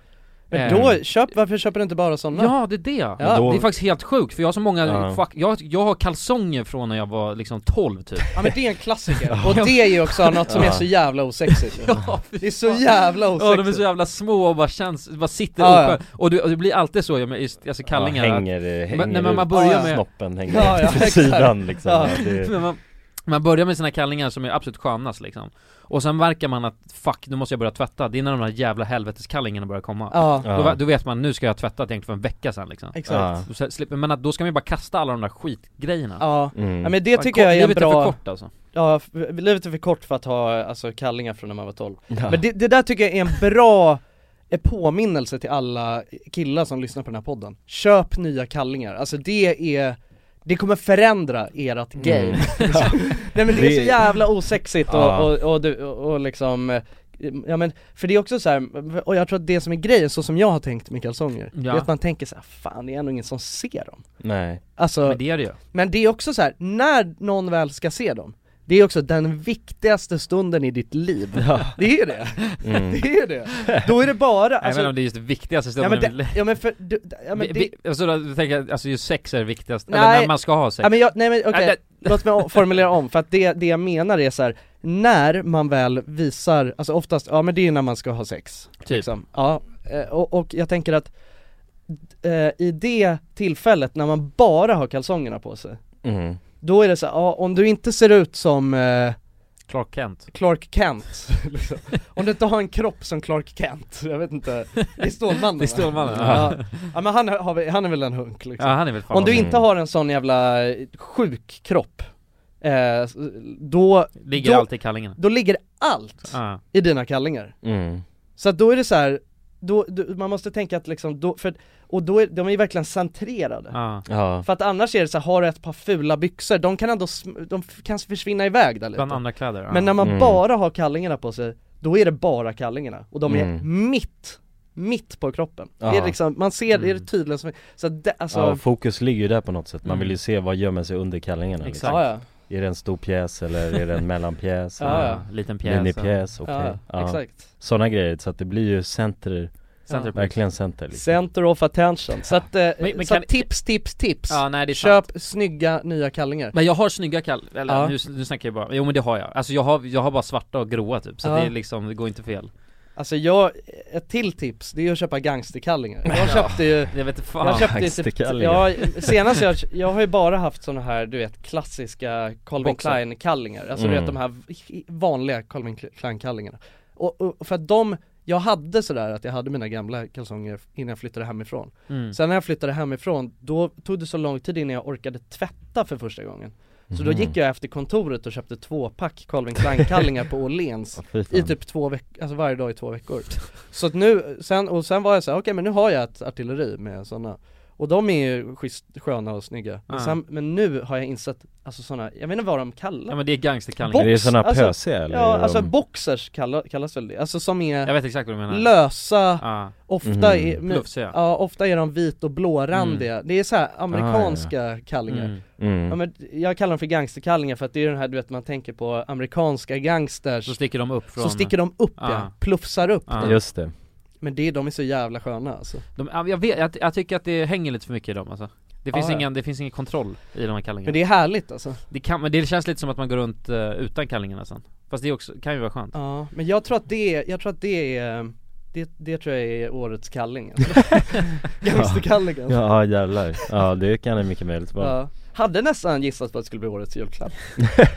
Men Eh, då, köp, varför köper du inte bara sådana? Ja det är det! Ja. Då- Det är faktiskt helt sjukt, för jag har så många, Ja. fuck, jag, jag har kalsonger från när jag var liksom 12 typ Ja, men det är en <laughs> klassiker, och det är ju också något som är så jävla osexigt ju. Det är så jävla Ja de är osexigt så jävla små och bara känns, bara sitter Ja, ja. uppe och, du, och det blir alltid så, jag med- just, alltså kallingar ja, att- hänger, eh, hänger Men- nej, men man ut. börjar Ja, med- snoppen hänger Ja, ut <laughs> ja, till exakt. sidan liksom Ah. ja. Ja. <laughs> Det, Men man, man börjar med sina kallingar som är absolut skönast liksom Och sen märker man att fuck, nu måste jag börja tvätta, det är när de där jävla helveteskallingarna börjar komma Ja, ja. då, va- då vet man, nu ska jag ha tvättat egentligen för en vecka sen liksom exakt Och sen slipper- Men att, då ska man ju bara kasta alla de där skitgrejerna Ja, Mm. ja men det Fan, tycker kort- jag är en livet för bra, kort alltså ja, f- livet är för kort för att ha alltså kallingar från när man var 12 Ja. Men det, det där tycker jag är en bra <laughs> eh, påminnelse till alla killar som lyssnar på den här podden Köp nya kallingar, alltså det är det kommer förändra ert game Mm. Nej men det är så Det- jävla osexigt och, Ja. och, och, du- och, och liksom eh, Ja men, för det är också så här, och jag tror att det som är grejen, så som jag har tänkt med kalsonger, Ja. det är att man tänker så här, fan det är ändå ingen som ser dem Nej, Alltså, Men det är det ju men det är också så här, när någon väl ska se dem, det är också den viktigaste stunden i ditt liv Det är ju det, mm. det är ju det! Då är det bara, Jag vet inte alltså, om det är just det viktigaste ja stunden men, ja, det, ja men för, du, ja men men det, Alltså då, du tänker, alltså just sex är det viktigaste, Nej. eller när man ska ha sex ja men jag, nej men okej, Nej, låt mig o- formulera om, för att det, det jag menar är så här, när man väl visar, alltså oftast, ja men det är när man ska ha sex Typ, liksom. Ja, eh, och, och jag tänker att eh, i det tillfället när man bara har kalsongerna på sig, Mm. då är det så här, ja, om du inte ser ut som eh, Clark Kent Clark Kent, <laughs> liksom. om du inte har en kropp som Clark Kent, jag vet inte, det är Stålmannen Det är va? Stålmannen, ja. ja. ja men han, har, väl- han är väl en hunk liksom ja han är väl fan Om du Mm. inte har en sån jävla eh, sjuk kropp, eh, då, Ligger då- alltid i kallingarna då ligger allt ja. i dina kallingar Mm. så att då är det så här, då, du, man måste tänka att liksom, då, för, och då är, de är ju verkligen centrerade Ja. Ja. För att annars är det så här, har du ett par fula byxor, de kan ändå, sm- de f- kan försvinna iväg där Bland lite andra kläder, ja. Men när man Mm. bara har kallingarna på sig, då är det bara kallingarna och de är Mm. mitt, mitt på kroppen Det är Ja. liksom, man ser, det är Mm. tydligt som, så att det, alltså, ja, fokus ligger ju där på något sätt. Man Mm. vill ju se vad gömmer sig under kallingarna Exakt. liksom. ja, ja, Är det en stor pjäs eller är <laughs> det en mellanpjäs? Ja, eller ja. Liten pjäs Minipjäs, okej ja, ja. exakt Sådana grejer, så att det blir ju center, Center verkligen center liksom. Center of attention, så att, eh, Men- men så kan- att tips, tips, tips! Ja nej det är sant Köp snygga nya kallingar Men jag har snygga kall, eller Ja. nu, nu snackar jag bara, jo men det har jag Alltså jag har, jag har bara svarta och gråa typ, så Ja. det är liksom, det går inte fel Alltså jag, ett till tips, det är att köpa <laughs> gangsterkallingar. Jag köpte ju, Jag vet inte fan jag köpte ju typ, gangsterkallingar. jag, senast jag, jag har ju bara haft såna här du vet klassiska Calvin Boxer. Klein kallingar, alltså du Mm. vet de här v- vanliga Calvin Klein kallingarna och, och för att de, jag hade sådär att jag hade mina gamla kalsonger innan jag flyttade hemifrån mm. Sen när jag flyttade hemifrån, då tog det så lång tid innan jag orkade tvätta för första gången Så Mm. då gick jag efter kontoret och köpte två pack Calvin Klein kallingar på <laughs> Åhléns i typ två veckor, alltså varje dag i två veckor Så att nu, sen, och sen var jag så här, okej men nu har jag ett artilleri med sådana Och de är ju schysst, sköna och snygga men, Ja. sen, men nu har jag insett, alltså sådana, jag vet inte vad de Ja kallar men det är gangsterkallingar Är det box, sådana alltså- pösiga eller? är Ja, de- alltså boxers kallar, kallas väl det, alltså som Jag är vet exakt vad du menar lösa, Ja, ofta Mhm. är, men, lufsiga ja, ofta är de vit och blårandiga, det är så här amerikanska kallingar mm. mm. Ja, men jag kallar dem för gangsterkallingar för att det är den här du vet man tänker på amerikanska gangsters Så sticker de upp från Ah. Så sticker de upp ja, Ja. plufsar upp Ja. det. Just det, Men det, de är så jävla sköna alltså de, ja, jag, vet, jag, jag tycker att det hänger lite för mycket i dem alltså det finns, Ja, ja. ingen, det finns ingen kontroll i de här kallingarna Men det, det är härligt alltså kan, men det känns lite som att man går runt eh, utan kallingarna sen Fast det är också, kan ju vara skönt Ja, men jag tror att det, jag tror att det är det, det tror jag är årets kalling <laughs> alltså. Gangsterkalling alltså. ja jävlar, ja det kan det mycket möjligt vara Ja. Hade nästan gissat på att det skulle bli årets <laughs> julklapp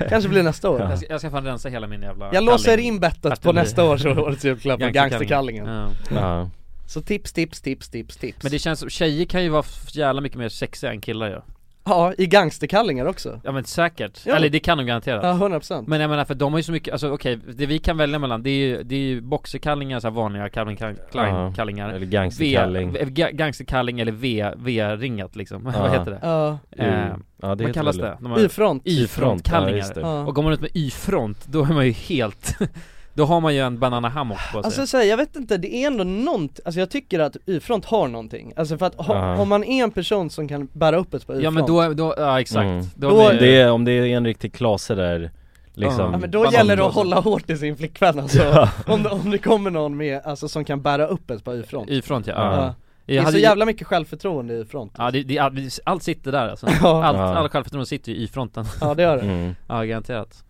Kanske blir nästa år jag, ska, jag ska fan rensa hela min jävla Jag låser kalling- in bettet på Artilleri. nästa års årets julklapp på Gangsterkallingar. gangsterkallingen Ja. Ja. Så tips, tips, tips, tips, tips Men det känns, tjejer kan ju vara f- jävla mycket mer sexiga än killar ju Ja, i gangsterkallingar också Ja men säkert, Ja. eller det kan de garanterat Ja, 100% Men jag menar för de har ju så mycket, alltså okej, det vi kan välja mellan det är ju, det är ju boxerkallingar, så här vanliga Calvin Ja. Klein kallingar Eller V- gangsterkalling v- ga- Gangsterkalling eller V, V-ringat liksom, <laughs> Ja. vad heter det? Ja, Eh, Mm. Ja det vad kallas det? De har- Y-front Y-front, ja, Y-front-kallingar just det. Ja. Och går man ut med Y-front, då är man ju helt <laughs> Då har man ju en banana hammock på sig Alltså så här, jag vet inte, det är ändå nånt. alltså jag tycker att Y-front har någonting Alltså för att ha, Ja. om man är en person som kan bära upp ett par Y-front Ja men då, då, ja exakt Mm. Då Då- blir det- Det är, om det är en riktig klase där liksom Ja, Ja men då gäller det att hålla hårt i sin flickvän alltså, Ja. om, det- om det kommer någon med, alltså som kan bära upp ett par Y-front Y-front ja, Ja. ja. Det är Jag så hade ju- jävla mycket självförtroende i Y-front Ja, det, det, allt- allt sitter där alltså. <laughs> Ja. Allt, Ja. Alla självförtroende sitter ju i fronten. Ja det gör det Mm. Ja, garanterat.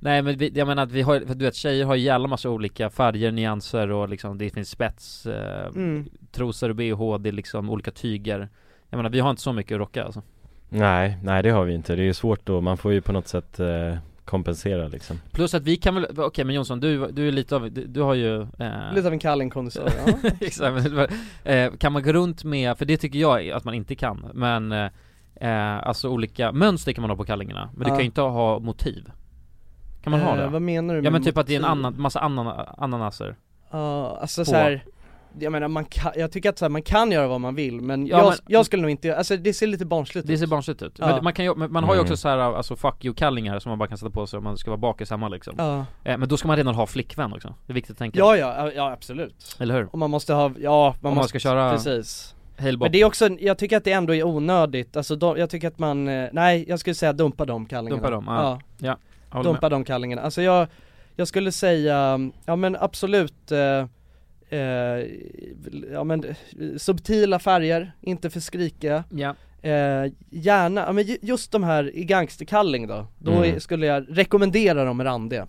Nej men vi, jag menar att vi har, för du vet tjejer har ju jävla massa olika färger, nyanser och liksom det finns spets, eh, mm. trosor och bh, det är liksom olika tyger. Jag menar vi har inte så mycket att rocka alltså. Nej, nej det har vi inte. Det är svårt då, man får ju på något sätt eh, kompensera liksom Plus att vi kan väl, okej men Jonsson du, du är lite av, du, du har ju eh, Lite av en kallingkondisör, ja. <laughs> Exakt, men, eh, kan man gå runt med, för det tycker jag att man inte kan, men eh, eh, alltså olika mönster kan man ha på kallingarna, men du Ja. kan ju inte ha motiv <laughs> Kan man ha Eh, det? Vad menar du Ja med men typ att det är en motiv? annan, massa annan, ananaser Ja, alltså På- så här. Jag menar man kan, jag tycker att så här, man kan göra vad man vill men, Ja, jag, men- jag skulle nog inte, alltså det ser lite barnsligt Det ut ser barnsligt ut, Ja. men man, kan ju, men man har ju Mm. också så här, alltså fuck you kallingar som man bara kan sätta på sig om man ska vara bakis hemma liksom Ja, eh, Men då ska man redan ha flickvän också, det är viktigt att tänka ja, ja, ja absolut Eller hur? Och man måste ha, ja man Om man måste, ska köra- precis Hailbop Men det är också, jag tycker att det ändå är onödigt, alltså de, jag tycker att man, eh, nej jag skulle säga dumpa de kallingarna Dumpa dem, ja. ja. dumpa de kallingarna. Alltså jag, jag skulle säga, ja men absolut eh, eh, Ja men eh, subtila färger, inte för skrikiga Ja, eh, Gärna, ja men ju- just de här i gangsterkalling då, då Mm. är, skulle jag rekommendera dem randiga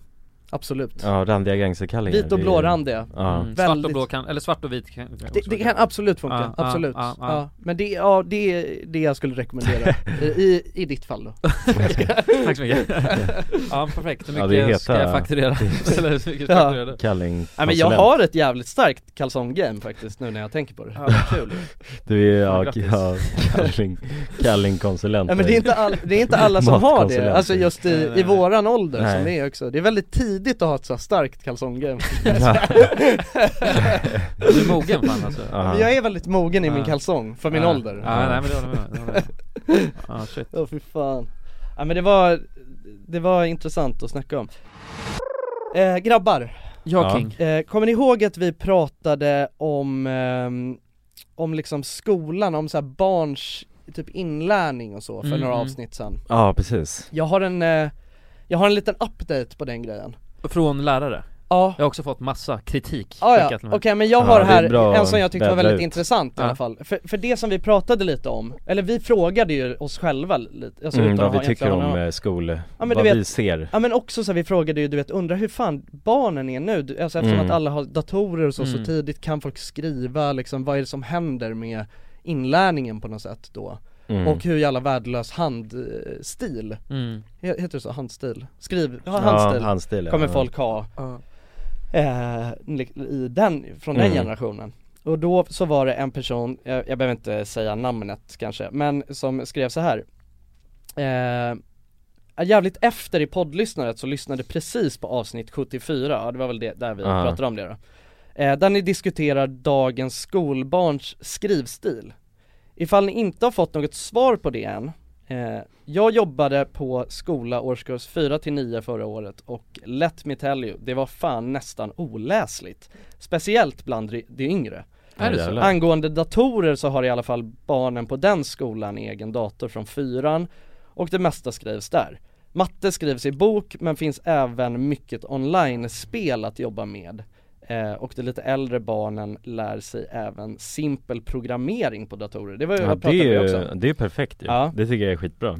Absolut Ja, randiga gangsterkallingar Vit och det är- blå randiga Ja, mm. svart och Väldigt- blå kan, eller svart och vit kan, det, också det vara kan absolut funka, Ja, ja, absolut. ja, ja. Ja, men det, ja, det är det jag skulle <laughs> rekommendera, I- i, i ditt fall då. <laughs> Tack <laughs> så mycket Ja perfekt, hur Ja, mycket det är heta- ska jag fakturera? <laughs> Eller hur mycket Ja. fakturerar du? Kalling Nej men jag konsulent. har ett jävligt starkt kalsonggame faktiskt nu när jag tänker på det. Ja, vad kul Du är ja, Grattis. ja, <laughs> kalling, kallingkonsulent Ja, men det är inte, all, det är inte alla som har det, Matkonsulent. alltså just Nej, i, nej, i nej. våran ålder som Nej. det är också. Det är väldigt tidigt att ha ett så här starkt <laughs> kalsonggame. Du är mogen fan alltså Ja. Jag är väldigt mogen i min Ja. kalsong, för min Ja. ålder. Ja, nej men det håller jag med om, det håller jag med om. Ja shit Åh fy fan. Ja men det var, det var intressant att snacka om. Eh, grabbar, Ja Ja. King eh, kommer ni ihåg att vi pratade om, ehm, om liksom skolan, om så här barns typ inlärning och så för Mm, några mm. avsnitt sedan? Ja, precis Jag har en, eh, jag har en liten update på den grejen. Från lärare Ja. Jag har också fått massa kritik Ah, ja, skickat till okej mig. men jag Ja, har det är här bra en som jag tyckte var att vädra väldigt ut. intressant i Ja. alla fall. För, för det som vi pratade lite om, eller vi frågade ju oss själva lite, alltså mm, utan att Vad ha vi tycker egentligen någon- om eh, skol, men du vad vi vet- ser Ja men också så här, vi frågade ju du vet, undrar hur fan barnen är nu? Du- Alltså eftersom Mm. att alla har datorer och så, så Mm. tidigt, kan folk skriva liksom, vad är det som händer med inlärningen på något sätt då? mm. Och hur jävla värdelös handstil, mm. He- heter det så? Handstil? Skriv, ja, Ja, handstil handstil ja. kommer folk ha eh, li- i den, från den Mm. generationen. Och då så var det en person, jag, jag behöver inte säga namnet kanske, men som skrev så här eh, Jävligt efter i poddlyssnandet så lyssnade precis på avsnitt 74, ja det var väl det, där vi Ja. pratade om det då. Eh, där ni diskuterar dagens skolbarns skrivstil. Ifall ni inte har fått något svar på det än eh, Jag jobbade på skola årskurs 4 till 9 förra året och let me tell you, det var fan nästan oläsligt Speciellt bland ry- de yngre Ja, Är det så? jävlar. Angående datorer så har i alla fall barnen på den skolan egen dator från fyran och det mesta skrivs där. Matte skrivs i bok men finns även mycket online-spel att jobba med eh, och de lite äldre barnen lär sig även simpel programmering på datorer. Det var ju Ja, vad jag det, är pratade om ju, också. det är perfekt ju. Ja. det tycker jag är skitbra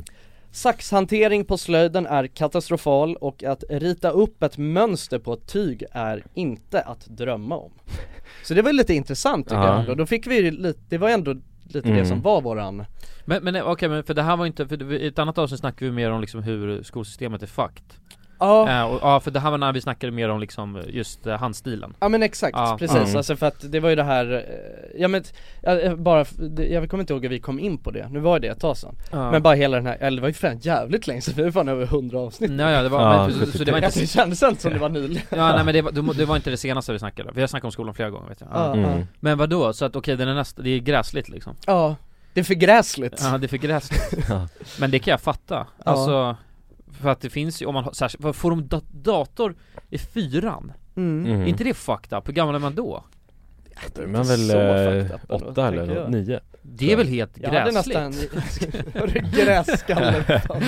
Saxhantering på slöjden är katastrofal och att rita upp ett mönster på ett tyg är inte att drömma om. <laughs> Så det var ju lite intressant tycker Ja. jag ändå. Då fick vi ju lite, det var ju ändå lite Mm. det som var våran eh, Men, men okej men för det här var inte, för det- i ett annat avsnitt snackade vi mer om liksom hur skolsystemet är fucked Ja. Eh, och, ja för det här var när vi snackade mer om liksom just eh, handstilen Ja men exakt, Ja. precis. Mm. Alltså för att det var ju det här, eh, ja men, t- ja, eh, bara, f- det- jag kommer inte ihåg hur vi kom in på det, nu var det ett tag sedan. Men bara hela den här, eller det var ju fan jävligt länge sedan, vi var fan över 100 avsnitt. Nej, ja, det var, Ja, men, så, så det var Alltså <laughs> det inte, kändes inte som det var nyligen. ja, nej, men det, var, det, var- det var inte det senaste vi snackade, vi har snackat om skolan flera gånger vet jag ja. Ja. Mm. Men vadå, så att okej den är nästa, det är gräsligt liksom Ja, det är för gräsligt. Ja det är för gräsligt Ja. Men det kan jag fatta, alltså För att det finns ju, om man har, särskilt, vad får de dat- dator i fyran? Mm. Mm. Är inte det fucked up? Hur gammal är man då? Då är man så väl fucked eh, up ändå, åtta eller tänker jag. något, nio? Det är väl helt Jag hade gräsligt? nästan, <laughs> gräskalle <laughs> fan.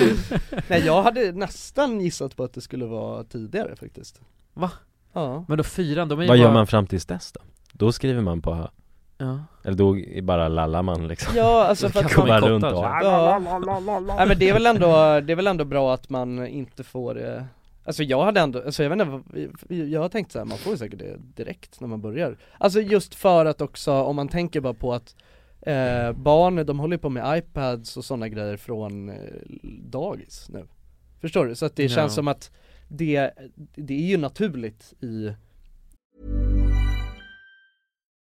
Nej jag hade nästan gissat på att det skulle vara tidigare faktiskt Va? Ja Men då fyran, de är ju Vad bara, gör man fram tills dess då? Då skriver man på, Ja. eller då är bara lallar man liksom Ja alltså för att Går man, bara Kottar runt sig. och ja. Nej men det är väl ändå, det är väl ändå bra att man inte får eh, Alltså jag hade ändå, alltså jag vet inte, vad- jag har tänkt så här, man får ju säkert det direkt när man börjar Alltså just för att också, om man tänker bara på att eh, barn, de håller ju på med iPads och sådana grejer från eh, dagis nu Förstår du? Så att det Ja. känns som att det, det är ju naturligt i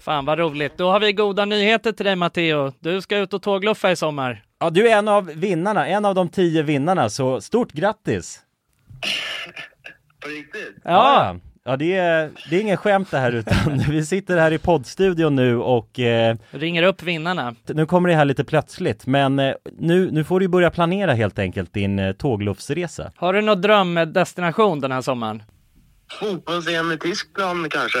Fan vad roligt, då har vi goda nyheter till dig Matteo Du ska ut och tågluffa i sommar Ja, du är en av vinnarna, en av de tio vinnarna, så stort grattis! på riktigt? Ja! Ja, det är, det är ingen skämt det här <laughs> utan vi sitter här i poddstudion nu och eh, Ringer upp vinnarna nu kommer det här lite plötsligt men eh, nu, nu får du ju börja planera helt enkelt din eh, tågluffsresa. Har du någon drömdestination den här sommaren? Fotbolls-EM i Tyskland kanske?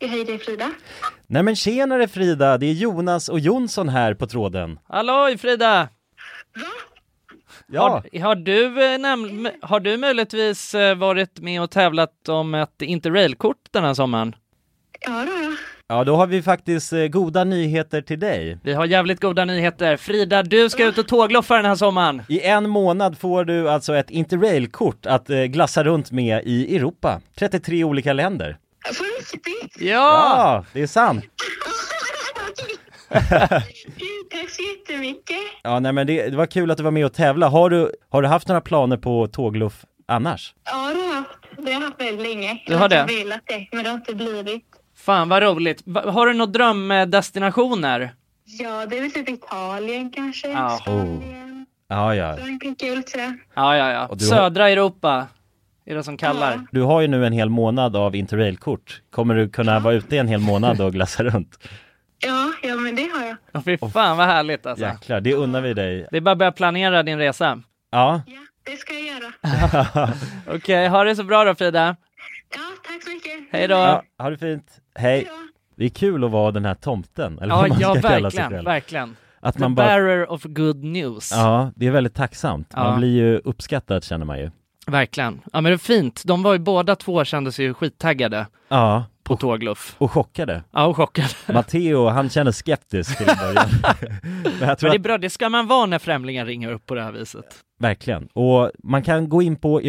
Hej, det är Frida. Nej men tjenare Frida, det är Jonas och Jonsson här på tråden. Halloj Frida! Ja. Har, har, du, eh, näm- har du möjligtvis eh, varit med och tävlat om ett interrailkort den här sommaren? Ja, då, då. Ja, då har vi faktiskt eh, goda nyheter till dig. Vi har jävligt goda nyheter. Frida, du ska ut och tågloffa den här sommaren. I en månad får du alltså ett interrailkort att eh, glassa runt med i Europa. 33 olika länder. På riktigt? Ja, det <laughs> är sant. Tack så jättemycket. Ja, nej men det, det var kul att du var med och tävla. Har du, har du haft några planer på tågluff annars? Ja, det har jag haft. Det har jag haft väldigt länge. Du har Jag det? har velat det, men det har inte blivit. Fan vad roligt. Va- Har du några drömdestinationer? Ja, det är väl typ Italien kanske. Ja. Oh. Ja, ja. Frankrike kul tror jag. Ja, ja, ja. du har- Södra Europa är det som kallar. Du har ju nu en hel månad av interrailkort. Kommer du kunna vara ute i en hel månad och glassa runt? Ja, ja men det har jag. Åh, fy fan vad härligt alltså. Jäklar, det unnar vi dig. Det är bara att börja planera din resa. Ja. Det ska jag göra. Okej, ha det så bra då Frida. Ja, tack så mycket. Hej då. Ja, ha det fint. Hej. Det är kul att vara den här tomten, eller vad Ja, man ja ska kalla sig verkligen, själv. verkligen. Att The man bara- bearer of good news. Ja, det är väldigt tacksamt. Man Ja. blir ju uppskattad känner man ju. Verkligen. Ja men det är fint. De var ju båda två kändes ju skittaggade. Ja. På tågluff. Och chockade. Ja, och chockade. Matteo, han känner skeptisk till en <laughs> början. Men jag men tror det är att- bra, det ska man vara när främlingar ringer upp på det här viset. Verkligen. Och man kan gå in på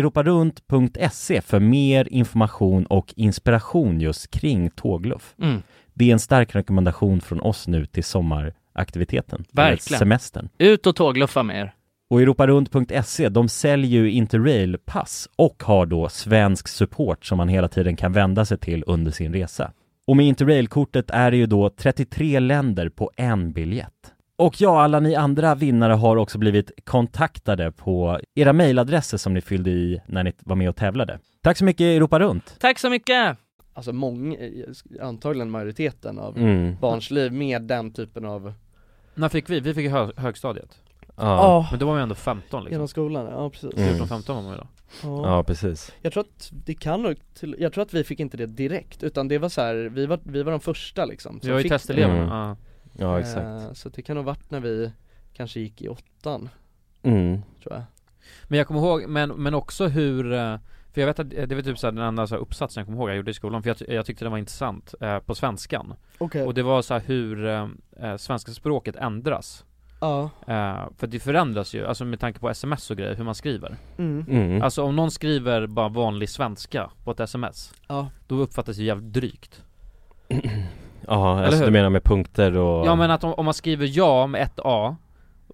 europarunt.se för mer information och inspiration just kring tågluff. Mm. Det är en stark rekommendation från oss nu till sommaraktiviteten. eller Verkligen. Semestern. Ut och tågluffa med er. Och europarunt.se, de säljer ju Interrail-pass och har då svensk support som man hela tiden kan vända sig till under sin resa. Och med Interrail-kortet är det ju då 33 länder på en biljett. Och ja, alla ni andra vinnare har också blivit kontaktade på era mejladresser som ni fyllde i när ni var med och tävlade. Tack så mycket Europa Runt! Tack så mycket! Alltså många, antagligen majoriteten av Mm. barns liv med den typen av När fick vi? Vi fick hö- högstadiet Ja. Men då var man ju ändå 15 liksom genom skolan, ja precis Mm. 14-15 var man ju då. Ja, precis. Jag tror att det kan nog, till, jag tror att vi fick inte det direkt utan det var så här, vi var, vi var de första liksom Vi som var ju fick testeleverna, det. ja. Ja, exakt. Eh, Så det kan nog varit när vi kanske gick i åttan Mm. Tror jag Men jag kommer ihåg, men, men också hur eh, För jag vet att eh, det var typ så här den enda så här uppsatsen jag kommer ihåg jag gjorde i skolan För jag, ty- jag tyckte den var intressant eh, på svenskan Okej. Och det var så här hur eh, eh, svenska språket ändras Ja. Eh, För det förändras ju, alltså med tanke på sms och grejer, hur man skriver Mm. Mm. Alltså om någon skriver bara vanlig svenska på ett sms Ja. Då uppfattas det jävligt drygt Ja, Eller alltså du hur? menar med punkter och... Ja men att om, om man skriver ja med ett A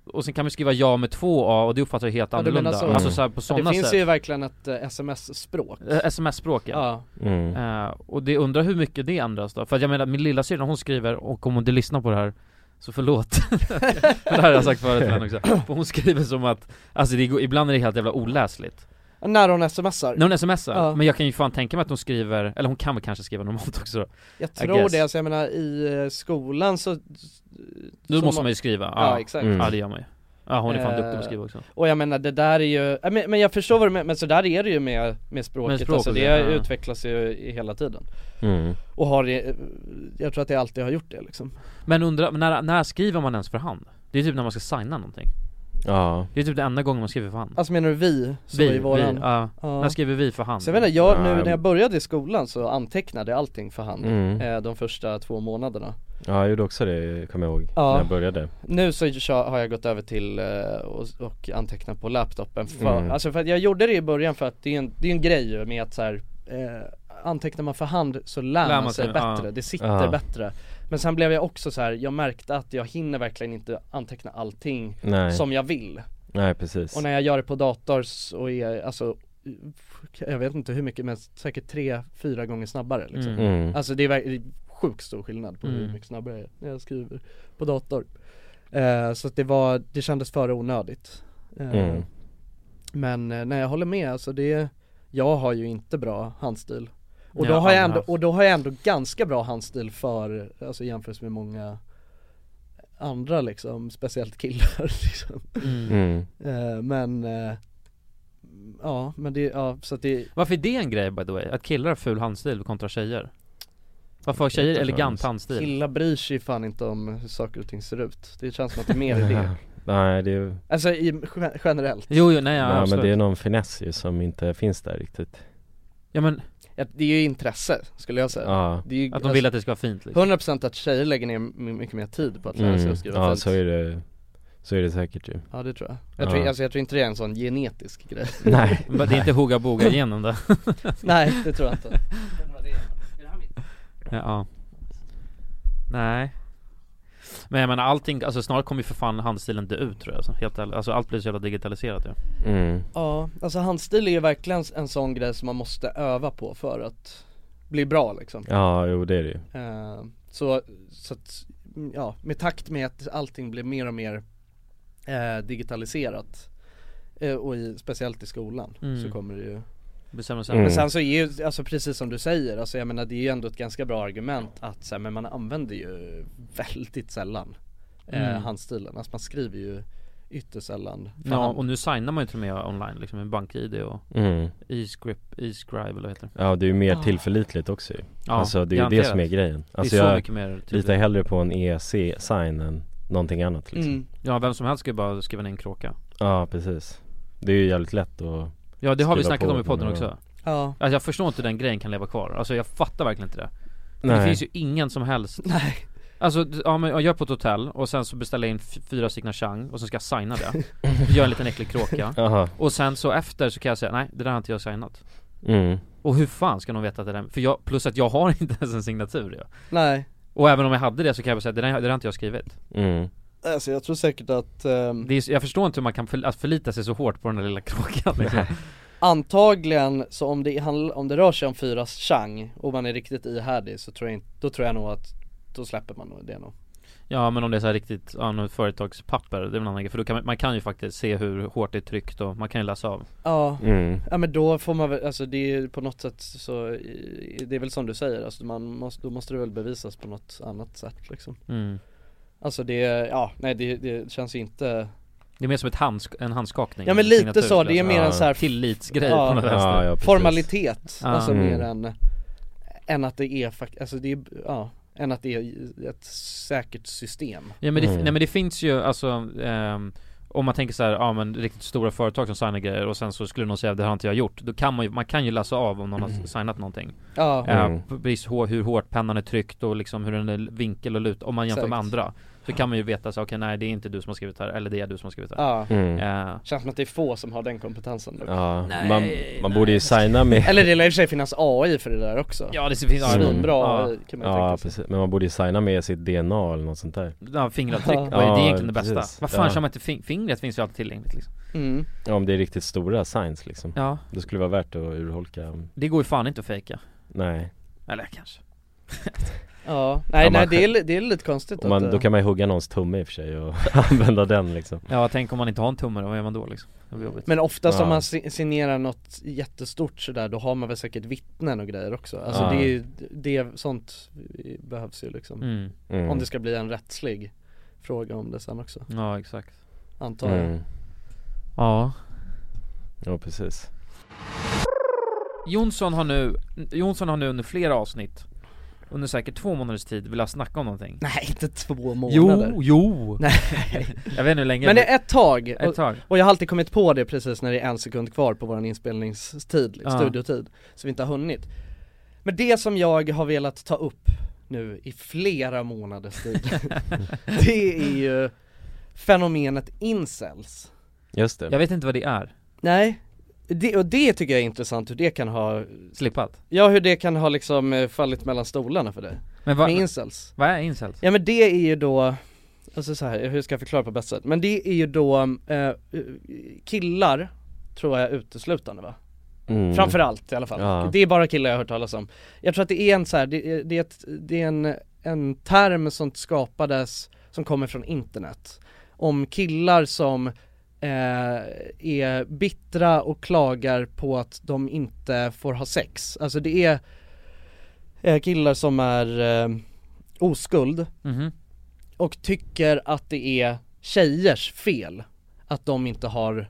Och sen kan man skriva ja med två A och det uppfattar jag helt Ja, du menar annorlunda så? Alltså så här, på Ja, sådana Det finns sätt ju verkligen ett eh, sms-språk Eh, sms-språk ja. Mm. Eh, och det undrar hur mycket det ändras då, för att jag menar min lilla syster hon skriver, och om hon inte lyssnar på det här så förlåt <laughs> För <laughs> det här har jag sagt förut till henne också, för hon skriver som att, alltså det går, ibland är det helt jävla oläsligt När hon smsar? När hon smsar, Ja. men jag kan ju fan tänka mig att hon skriver, eller hon kan väl kanske skriva normalt också då Jag I tror guess. det, alltså jag menar i eh, skolan så Då så måste man ju skriva, Ja, exakt Eh, Ja det gör man ju Ja hon är fan duktig på att skriva också Och jag menar det där är ju, äh, men, men jag förstår vad du menar, men så där är det ju med, med språket, Med språk alltså, och det grejer, ja. utvecklas ju i- hela tiden Mm. Och har det, eh, jag tror att det alltid har gjort det liksom Men undra, när, när skriver man ens för hand? Det är typ när man ska signa någonting Ja. Det är typ den enda gången man skriver för hand Alltså menar du vi? Så Vi, i våran? vi, ja. När skriver vi för hand? Så jag vet inte, jag, nu Ja. när jag började i skolan så antecknade jag allting för hand Mm. eh, de första två månaderna Ja, jag gjorde också det, kommer jag ihåg, Ja. när jag började. Nu så kör- har jag gått över till eh, och, och anteckna på laptopen för, Mm. alltså för att jag gjorde det i början för att det är en, det är en grej ju med att så här, eh, antecknar man för hand så lär, man sig bättre, ja. det sitter Ja. bättre Men sen blev jag också så här, jag märkte att jag hinner verkligen inte anteckna allting Nej. som jag vill Nej, precis. Och när jag gör det på dator så är alltså jag vet inte hur mycket men säkert tre, fyra gånger snabbare liksom. Mm. Mm. Alltså det är verk- det är sjukt stor skillnad på hur Mm. mycket snabbare jag är när jag skriver på dator eh, Så att det var, det kändes för onödigt eh, Mm. Men eh, nej jag håller med alltså det, jag har ju inte bra handstil och Jag då, har har jag aldrig ändå, haft. och då har jag ändå ganska bra handstil för, alltså jämfört med många andra liksom, speciellt killar <laughs> liksom. Mm. Eh, Men, eh, ja men det, ja så att det Varför är det en grej by the way? Att killar har ful handstil kontra tjejer? Varför har Jag vet tjejer inte elegant ens. handstil? Killar bryr sig fan inte om hur saker och ting ser ut Det känns som att det är mer det <laughs> Nej det är ju Alltså i, gen- generellt Nej men det är någon finess ju som inte finns där riktigt Ja men Ja, Det är ju intresse skulle jag säga Ja. det är ju, Att de vill att det ska vara fint, liksom. liksom. 100% att tjejer lägger ner m- mycket mer tid på att lära sig mm. att skriva Ja fint så är det, så är det säkert ju Ja det tror jag, jag, tror, Ja. alltså, jag tror inte det är en sån <laughs> genetisk grej <laughs> Nej. <laughs> <laughs> Men det är inte hoga boga igenom det. Nej det tror jag inte Ja, ja. Nej Men jag menar allting, alltså snart kommer ju för fan handstilen dö ut tror jag alltså, helt ärligt. Alltså allt blir så jävla digitaliserat ju Mm. Ja, alltså handstil är ju verkligen en sån grej som man måste öva på för att bli bra liksom Ja jo det är det ju Eh, Så, så att, mm, ja, med takt med att allting blir mer och mer eh, digitaliserat eh, och i, speciellt i skolan Mm. så kommer det ju Det blir sämre och sämre. Mm. Men sen så är ju, alltså precis som du säger, alltså jag menar det är ju ändå ett ganska bra argument att så här, men man använder ju väldigt sällan eh, Mm. handstilen, alltså man skriver ju ytterst sällan för Ja hand. och nu signar man ju till och med online liksom med bank-id och Mm. e-script, e-scribe eller vad heter det? Ja det är ju mer Ah. tillförlitligt också ju. Ja, Alltså det är ju det garanterat. som är grejen Det är Alltså så jag mycket mer typ, litar tillförlitligt. hellre på en EC-sign än någonting annat liksom Mm. Ja vem som helst ska ju bara skriva ner en kråka Ja precis Det är ju jävligt lätt att Ja det har vi skriva snackat på om i podden men- också Ja. Alltså jag förstår inte hur den grejen kan leva kvar, alltså jag fattar verkligen inte det För Det Nej. finns ju ingen som helst Nej Alltså, d- ja men jag gör på ett hotell och sen så beställer jag in f- fyra stycken chang och sen ska jag signa det <laughs> Gör en liten äcklig kråka Jaha. Och sen så efter så kan jag säga nej det där har inte jag signat Mm. Och hur fan ska de veta att det där, för jag, plus att jag har <laughs> inte ens en signatur ja. Nej. Och även om jag hade det så kan jag bara säga det där, det där har inte jag skrivit Mm. Alltså jag tror säkert att ehm, det är, Jag förstår inte hur man kan för, att förlita sig så hårt på den där lilla kråkan liksom. Antagligen så om det, handl- om det rör sig om fyra chang och man är riktigt ihärdig så tror jag inte, då tror jag nog att då släpper man nog det nog Ja men om det är så här riktigt, ja något företagspapper, det är väl en annan grej För då kan man, man kan ju faktiskt se hur hårt det är tryckt och man kan ju läsa av Ja, Mm. ja men då får man väl, alltså det är ju på något sätt så, i- det är väl som du säger, alltså man måste, då måste det väl bevisas på något annat sätt liksom Mm. Alltså det, ja nej det, det känns ju inte Det är mer som ett handsk- en handskakning Ja men en lite signatur, så, det är skulle mer jag en säga. så här Tillitsgrej ja, på något vänster Ja, ja, precis. Formalitet, Ja. alltså Mm. mer än, än att det är fakt, alltså det är, ja, än att det är ett säkert system Ja men det, Mm. nej, men det finns ju alltså ehm, om man tänker så här, ja men riktigt stora företag som signar grejer och sen så skulle någon säga det har inte jag gjort Då kan man ju, man kan ju läsa av om någon Mm. har signat någonting Ja. Eh, Mm. Precis hur, hur hårt pennan är tryckt och liksom hur den är vinkel och lut Om man jämför med Exakt. andra Så kan man ju veta så här, okej nej det är inte du som har skrivit här eller det är du som har skrivit här Ja, Mm. Eh, känns som att det är få som har den kompetensen dock. Ja, Nej, man- man borde ju signa med- Eller det lär i och för sig finnas AI för det där också Ja, det finns- ja, Mm. Svinbra ja. AI kan man ju Ja tänka sig precis, men man borde ju signa med sitt DNA eller något sånt där Ja, fingeravtryck, Ja. vad är det egentligen det bästa? precis. Vad fan Ja. kör man inte, fing- fingret finns ju alltid tillgängligt liksom Mm. Ja om det är riktigt stora signs liksom Ja. Det skulle vara värt att urholka Det går ju fan inte att fejka Nej Eller kanske Ja, nej Ja, man nej det är, själv- li- det är lite konstigt Om man, att, eh, Då kan man ju hugga någons tumme i och för sig och <laughs> använda den liksom Ja tänk om man inte har en tumme då, vad gör man då liksom? Det blir jobbigt Men oftast Ja. om man si- signerar något jättestort sådär då har man väl säkert vittnen och grejer också Alltså Ja. det är ju, det, sånt behövs ju liksom Mm. Mm. Om det ska bli en rättslig fråga om det sen också Ja exakt Antar jag Mm. Ja Ja precis Jonsson har nu, Jonsson har nu under flera avsnitt under säkert två månaders tid velat snacka om någonting Nej inte två månader Jo, jo! <laughs> Nej Jag vet inte hur länge Men det är ett tag, och, Ett tag och jag har alltid kommit på det precis när det är en sekund kvar på våran inspelningstid, Ja. studiotid, så vi inte har hunnit Men det som jag har velat ta upp nu i flera månaders tid, det är ju fenomenet incels Just det Jag vet inte vad det är Nej, det, och det tycker jag är intressant hur det kan ha Slippat? Ja hur det kan ha liksom eh, fallit mellan stolarna för dig Men vad- Med incels Vad är incels? Ja men det är ju då, alltså så här, hur ska jag förklara på bästa sätt? Men det är ju då eh, killar, tror jag uteslutande va? Mm. Framförallt i alla fall. Ja. Det är bara killar jag har hört talas om. Jag tror att det är en så här, det, är- det, är, ett, det är en, en term som skapades, som kommer från internet. Om killar som eh, är bittra och klagar på att de inte får ha sex. Alltså det är eh, killar som är eh, oskuld Mhm. och tycker att det är tjejers fel att de inte har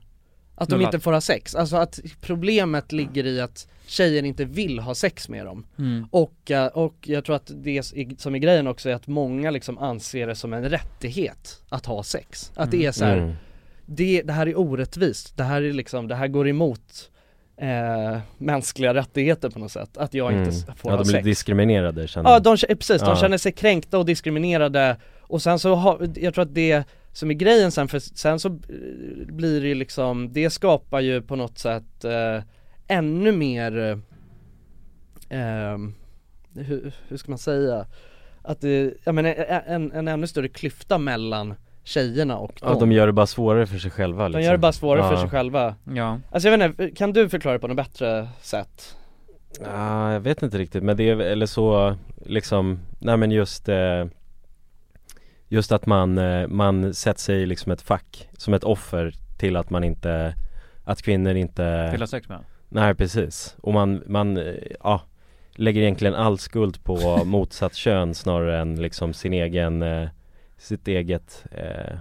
Att de Nullar. inte får ha sex, alltså att problemet ligger i att tjejer inte vill ha sex med dem Mm. och, eh, och jag tror att det är- som är grejen också är att många liksom anser det som en rättighet att ha sex Att det är så här, Mm. det, det här är orättvist, det här är liksom, det här går emot eh, mänskliga rättigheter på något sätt, att jag inte s- Mm. får Ja, ha de blir sex diskriminerade känner Ja, de, k- eh, precis, de Ja. känner sig kränkta och diskriminerade och sen så har, jag tror att det som är grejen sen, för sen så eh, blir det ju liksom, det skapar ju på något sätt eh, ännu mer, eh, ehm, hur, hur ska man säga, att det, jag menar, ä- ä- en, en ännu större klyfta mellan tjejerna och Ja, de gör det bara svårare för sig själva liksom. de gör det bara svårare för Ja. sig själva Ja. Alltså jag vet inte, kan du förklara på något bättre sätt? Ja, Ah, jag vet inte riktigt men det är eller så liksom, nej men just eh, Just att man, eh, man sätter sig i liksom ett fack, som ett offer till att man inte Att kvinnor inte Vill ha sex med? Nej precis, och man, man, eh, ja Lägger egentligen all skuld på <laughs> motsatt kön snarare än liksom sin egen, eh, sitt eget eh,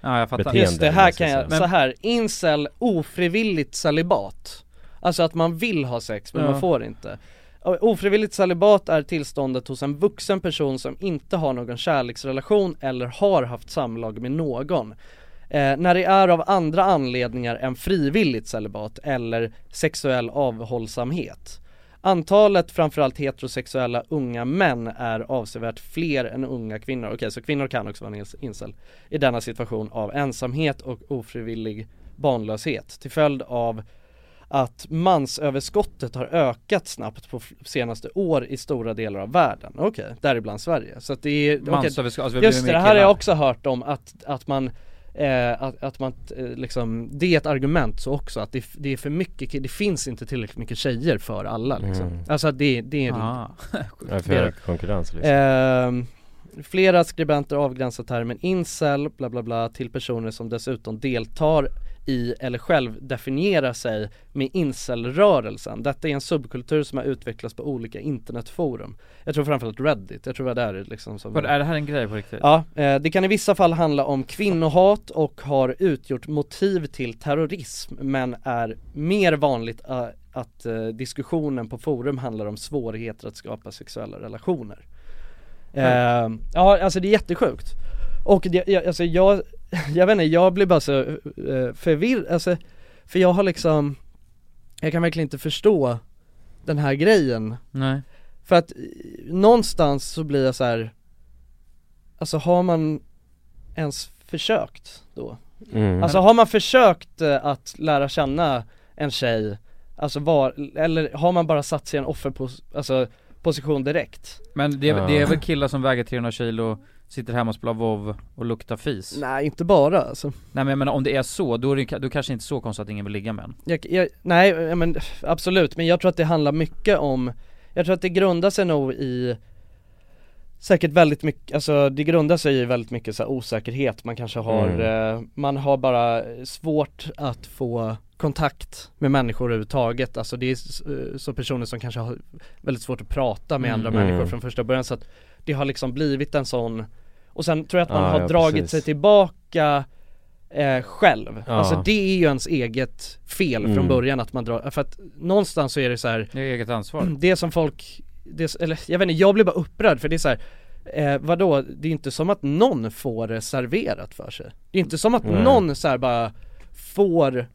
Ja jag fattar. Beteende, Just det, eller vad här jag ska kan jag, säga. så här, incel, ofrivilligt celibat Alltså att man vill ha sex men Ja. man får inte Och Ofrivilligt celibat är tillståndet hos en vuxen person som inte har någon kärleksrelation eller har haft samlag med någon eh, När det är av andra anledningar än frivilligt celibat eller sexuell avhållsamhet Antalet framförallt heterosexuella unga män är avsevärt fler än unga kvinnor. Okej, så kvinnor kan också vara en incel i denna situation av ensamhet och ofrivillig barnlöshet till följd av att mansöverskottet har ökat snabbt på f- senaste år i stora delar av världen. Okej, däribland Sverige. Så att det är... okej. Mansöverskott, alltså vi Just blir det, mer det här har killar. jag också hört om att, att man Eh, att, att man eh, liksom, det är ett argument så också att det, f- det är för mycket, ki- det finns inte tillräckligt mycket tjejer för alla liksom. Mm. Alltså att det, det är Ah. Ja, för det är- hög konkurrens, liksom. Ehm, flera skribenter avgränsar termen incel, bla bla bla, till personer som dessutom deltar i eller själv definierar sig med incelrörelsen. Detta är en subkultur som har utvecklats på olika internetforum. Jag tror framförallt Reddit, jag tror det var där liksom som Vadå, Är det här en grej på riktigt? Ja, eh, det kan i vissa fall handla om kvinnohat och har utgjort motiv till terrorism men är mer vanligt eh, att eh, diskussionen på forum handlar om svårigheter att skapa sexuella relationer. Eh, ja, alltså det är jättesjukt. Och det, jag, alltså jag, <laughs> jag vet inte, jag blir bara så eh, förvirrad, alltså, för jag har liksom, jag kan verkligen inte förstå den här grejen. Nej. För att eh, någonstans så blir jag så här. Alltså har man ens försökt då? Mm. Alltså har man försökt eh, att lära känna en tjej, alltså var, eller har man bara satt sig i en offerposition alltså, position direkt? Men det, är- det är väl killar som väger 300 kilo, sitter hemma och spelar WoW och luktar fis? Nej inte bara alltså Nej men jag menar om det är så, då är det, då kanske inte så konstigt att ingen vill ligga med en jag, jag, nej ja, men absolut, men jag tror att det handlar mycket om, jag tror att det grundar sig nog i Säkert väldigt mycket, alltså det grundar sig i väldigt mycket så här osäkerhet, man kanske har, Mm. eh, man har bara svårt att få kontakt med människor överhuvudtaget, alltså det är s- eh, så personer som kanske har väldigt svårt att prata med Mm. andra människor Mm. från första början så att det har liksom blivit en sån och sen tror jag att man Ja, har ja, dragit precis. sig tillbaka eh, själv, Ja. alltså det är ju ens eget fel Mm. från början att man drar, för att någonstans så är det så här Det är eget ansvar <clears throat> Det som folk, det, eller jag vet inte, jag blir bara upprörd för det är så här. Eh, vadå, det är inte som att någon får det serverat för sig Det är inte som att Nej. någon så här bara får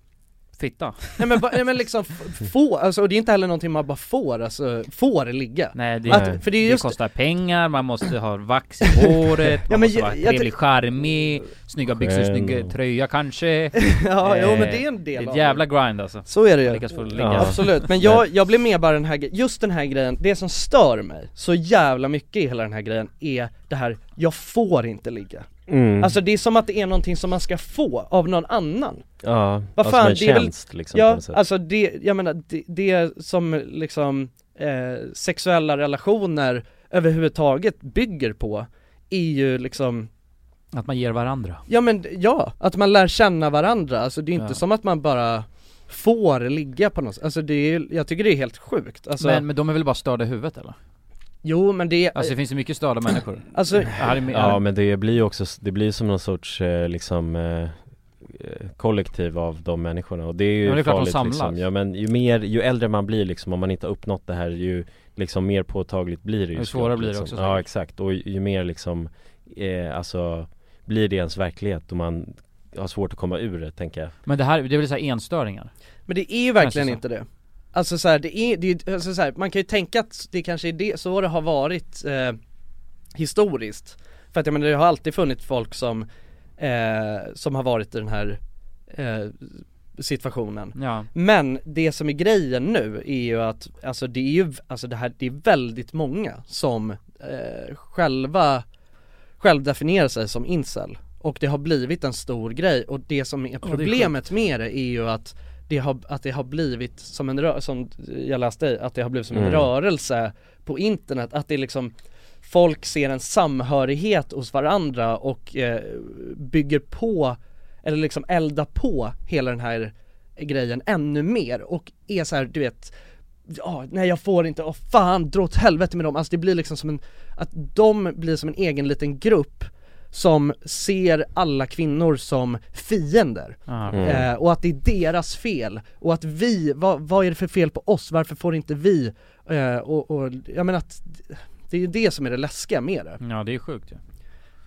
Fitta Nej men, bara- nej, men liksom f- få, alltså, och det är inte heller någonting man bara får, alltså får ligga Nej det, att, för det är just kostar pengar, man måste ha vax i håret, <laughs> man Ja, men måste jag- vara jag ty- trevlig, charmig, snygga byxor, Skön snygg och- tröja kanske <laughs> <laughs> Ja, jo, men Eh, det är en del Det är av ett det. jävla grind alltså Så är det ju. Man lyckas få ligga Absolut, men jag, jag blir med bara den här gre- just den här grejen, det som stör mig så jävla mycket i hela den här grejen är det här, jag får inte ligga Mm. Alltså det är som att det är någonting som man ska få av någon annan Ja, Vad ja, som en det är väl- tjänst, liksom, på Ja, något sätt. alltså det, jag menar det, det som liksom eh, sexuella relationer överhuvudtaget bygger på är ju liksom Att man ger varandra Ja men ja, att man lär känna varandra, alltså det är inte Ja. som att man bara får ligga på något sätt, alltså det är, jag tycker det är helt sjukt alltså, men, men de är väl bara störda i huvudet eller? Jo men det Alltså det finns ju mycket störda <laughs> människor Alltså- Ja, det är- Ja men det blir ju också, det blir som någon sorts eh, liksom eh, eh, kollektiv av de människorna och det är ju Ja, men det är klart farligt de samlas. liksom. Ja men ju mer, ju äldre man blir liksom om man inte har uppnått det här ju liksom mer påtagligt blir det ju Ja, ju såklart, svårare blir det liksom. också Ja exakt och ju ju mer liksom eh, alltså blir det ens verklighet och man har svårt att komma ur det tänker jag Men det här, det är väl så här enstöringar? Men det är ju verkligen Kanske så. inte det Alltså så här, det är, det är, alltså så här, man kan ju tänka att det kanske är det, så det har varit eh, historiskt För att jag menar det har alltid funnits folk som, eh, som har varit i den här eh, situationen Ja. Men det som är grejen nu är ju att, alltså det är ju, alltså det här, det är väldigt många som eh, själva, själv definierar sig som incel och det har blivit en stor grej och det som är är problemet med det är ju att det har, att det har blivit som en rö- som jag läste i, att det har blivit som en Mm. rörelse på internet, att det är liksom folk ser en samhörighet hos varandra och eh, bygger på eller liksom eldar på hela den här grejen ännu mer och är så här, du vet Ja, nej jag får inte, åh fan, dra åt helvete med dem. Alltså det blir liksom som en, att de blir som en egen liten grupp som ser alla kvinnor som fiender. Ah, okej. eh, och att det är deras fel. Och att vi, vad, vad är det för fel på oss? Varför får inte vi? Eh, och, och jag menar att det är ju det som är det läskiga med det. Ja det är sjukt ju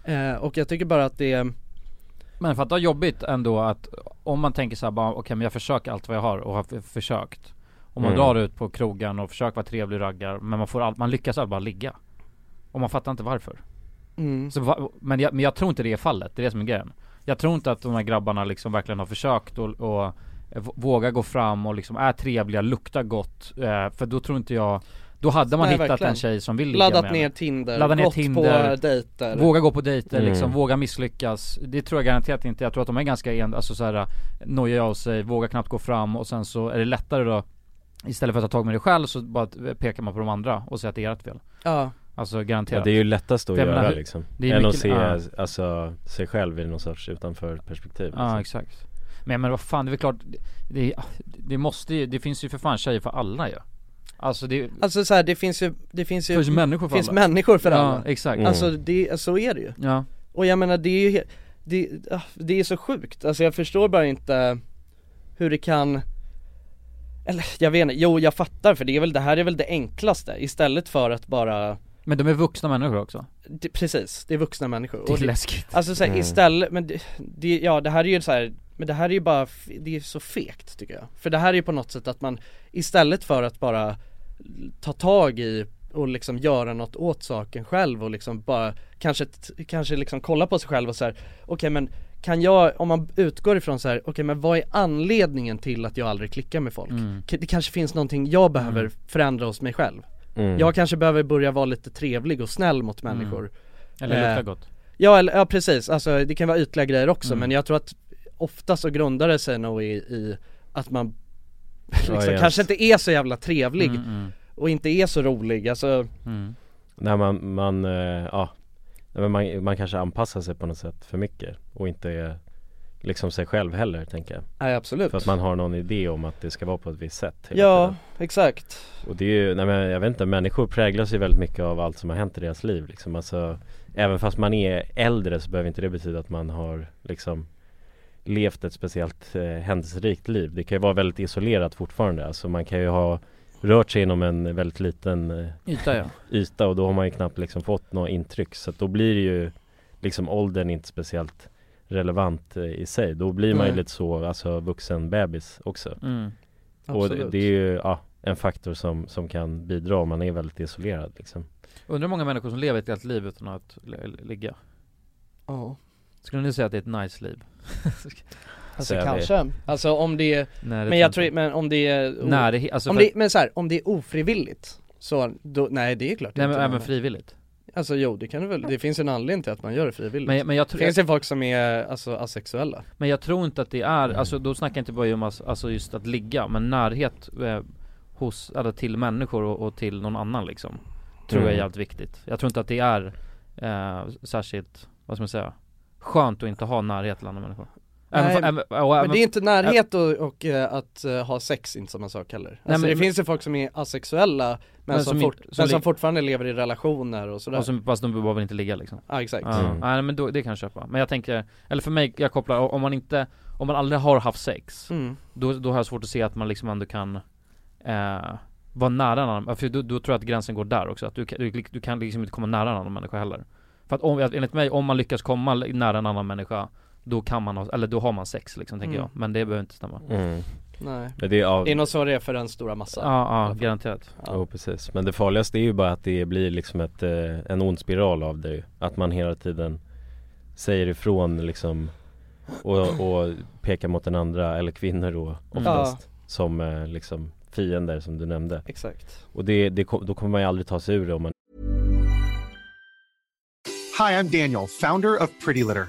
Eh, och jag tycker bara att det mm, är Men fatta jobbigt ändå att om man tänker så här bara okej men jag försöker allt vad jag har och har f- försökt Om man Mm. drar ut på krogen och försöker vara trevlig raggar men man får allt, man lyckas aldrig bara ligga Och man fattar inte varför Mm. så, va- men, jag, men jag tror inte det är fallet, det är det som är grejen Jag tror inte att de här grabbarna liksom verkligen har försökt och, och eh, v- vågar gå fram och liksom är trevliga, luktar gott eh, För då tror inte jag då hade man Nej, hittat verkligen. en tjej som vill ligga Laddat med ner henne. Tinder, Ladda ner gått Tinder, på dejter. Våga gå på dejter Mm. liksom, våga misslyckas Det tror jag garanterat inte, jag tror att de är ganska en, alltså såhär Noja av sig, vågar knappt gå fram och sen så är det lättare då Istället för att ta tag med dig själv så bara pekar man på de andra och säger att det är ert fel Ja. Alltså ja, garanterat Det är ju lättast att För jag göra menar, hur- liksom det är Än att mycket- se ja. alltså, sig själv i någon sorts utanför perspektiv liksom. Ja exakt Men men vad fan, det är väl klart det, det måste ju, det finns ju för fan tjejer för alla ju Alltså det Alltså så här, det finns ju, det finns ju Finns människor för finns alla. människor för Ja, alla. exakt. Mm. Alltså det, så är det ju Ja. Och jag menar det är ju, he- det, ah, det är så sjukt, alltså jag förstår bara inte hur det kan Eller jag vet inte, jo jag fattar för det är väl, det här är väl det enklaste istället för att bara Men de är vuxna människor också det, precis, det är vuxna människor Det är Och läskigt. Alltså såhär Mm. istället, men det, det, ja det här är ju så här, men det här är ju bara, f- det är så fegt tycker jag För det här är ju på något sätt att man istället för att bara ta tag i och liksom göra något åt saken själv och liksom bara kanske, t- kanske liksom kolla på sig själv och så här. okej men kan jag, om man utgår ifrån så här, okej men vad är anledningen till att jag aldrig klickar med folk? Mm. K- Det kanske finns någonting jag behöver förändra hos mig själv Mm. Jag kanske behöver börja vara lite trevlig och snäll mot människor Eller lukta Eh, gott. Ja, eller, ja precis, alltså det kan vara ytliga grejer också Mm. men jag tror att ofta så grundar det sig nog i, i att man <laughs> liksom yes. kanske inte är så jävla trevlig Mm, mm. och inte är så rolig, alltså mm. När man, man, eh, ja Nej, men man, man kanske anpassar sig på något sätt för mycket och inte är liksom sig själv heller tänker jag Nej, absolut. För att man har någon idé om att det ska vara på ett visst sätt hela Ja, exakt och det är ju, nej men jag vet inte, människor präglas ju väldigt mycket av allt som har hänt i deras liv liksom. alltså, Även fast man är äldre så behöver inte det betyda att man har liksom levt ett speciellt eh, händelserikt liv. Det kan ju vara väldigt isolerat fortfarande. Alltså man kan ju ha rört sig inom en väldigt liten eh, Yta, ja. yta och då har man ju knappt liksom fått något intryck. Så att då blir det ju liksom åldern inte speciellt relevant eh, i sig. Då blir man ju Nej. lite så, alltså vuxen bebis också. Mm. Och det, Absolut. det är ju ja, en faktor som, som kan bidra om man är väldigt isolerad liksom. Undrar hur många människor som lever ett helt liv utan att li- li- ligga Ja Skulle ni säga att det är ett nice liv? Alltså kanske, alltså om det är, Nej, det men tror jag jag tror, men om det är, o- Nej, det- alltså om för- det, men så här, om det är ofrivilligt så, då, nej det är klart Nej men inte. även frivilligt Alltså jo det kan det väl, det finns en anledning till att man gör det frivilligt Men- men jag tror- Finns det folk som är alltså asexuella? Men jag tror inte att det är, alltså då snackar jag inte bara om ass- alltså just att ligga, men närhet eh, hos, eller till människor och, och till någon annan liksom Tror jag är Mm. jävligt viktigt Jag tror inte att det är eh, särskilt, vad ska man säga, skönt att inte ha närhet till andra människor Nej, Även fa- även- och men även- det är inte närhet och, och eh, att eh, ha sex inte samma sak heller. Alltså men- det finns ju folk som är asexuella men, Men som, som fort, inte- som men som lig- fortfarande lever i relationer och sådär. Och som, fast de behöver inte ligga liksom Ja, exakt. Ja, Mm. Nej men då, det kan jag köpa, men jag tänker, eller för mig, jag kopplar, om man inte, om man aldrig har haft sex Mm. då, då har jag svårt att se att man liksom ändå kan eh, vara nära en annan, för då, då tror jag att gränsen går där också, att du, kan- du, du kan liksom inte komma nära en annan människa heller För att om, enligt mig, om man lyckas komma li- nära en annan människa Då kan man ha, eller då har man sex liksom tänker Mm. jag, men det behöver inte stämma Mm. Nej. Men det är av- Inom så är det för den stora massan. Ja, ja garanterat Jo precis, men det farligaste är ju bara att det blir liksom ett, eh, en ond spiral av det ju. Att man hela tiden säger ifrån liksom och, och pekar mot den andra, eller kvinnor då oftast Som eh, liksom fiender som du nämnde Exakt Och det, det, ko- då kommer man ju aldrig ta sig ur det om man Hi, I'm Daniel, founder of Pretty Litter.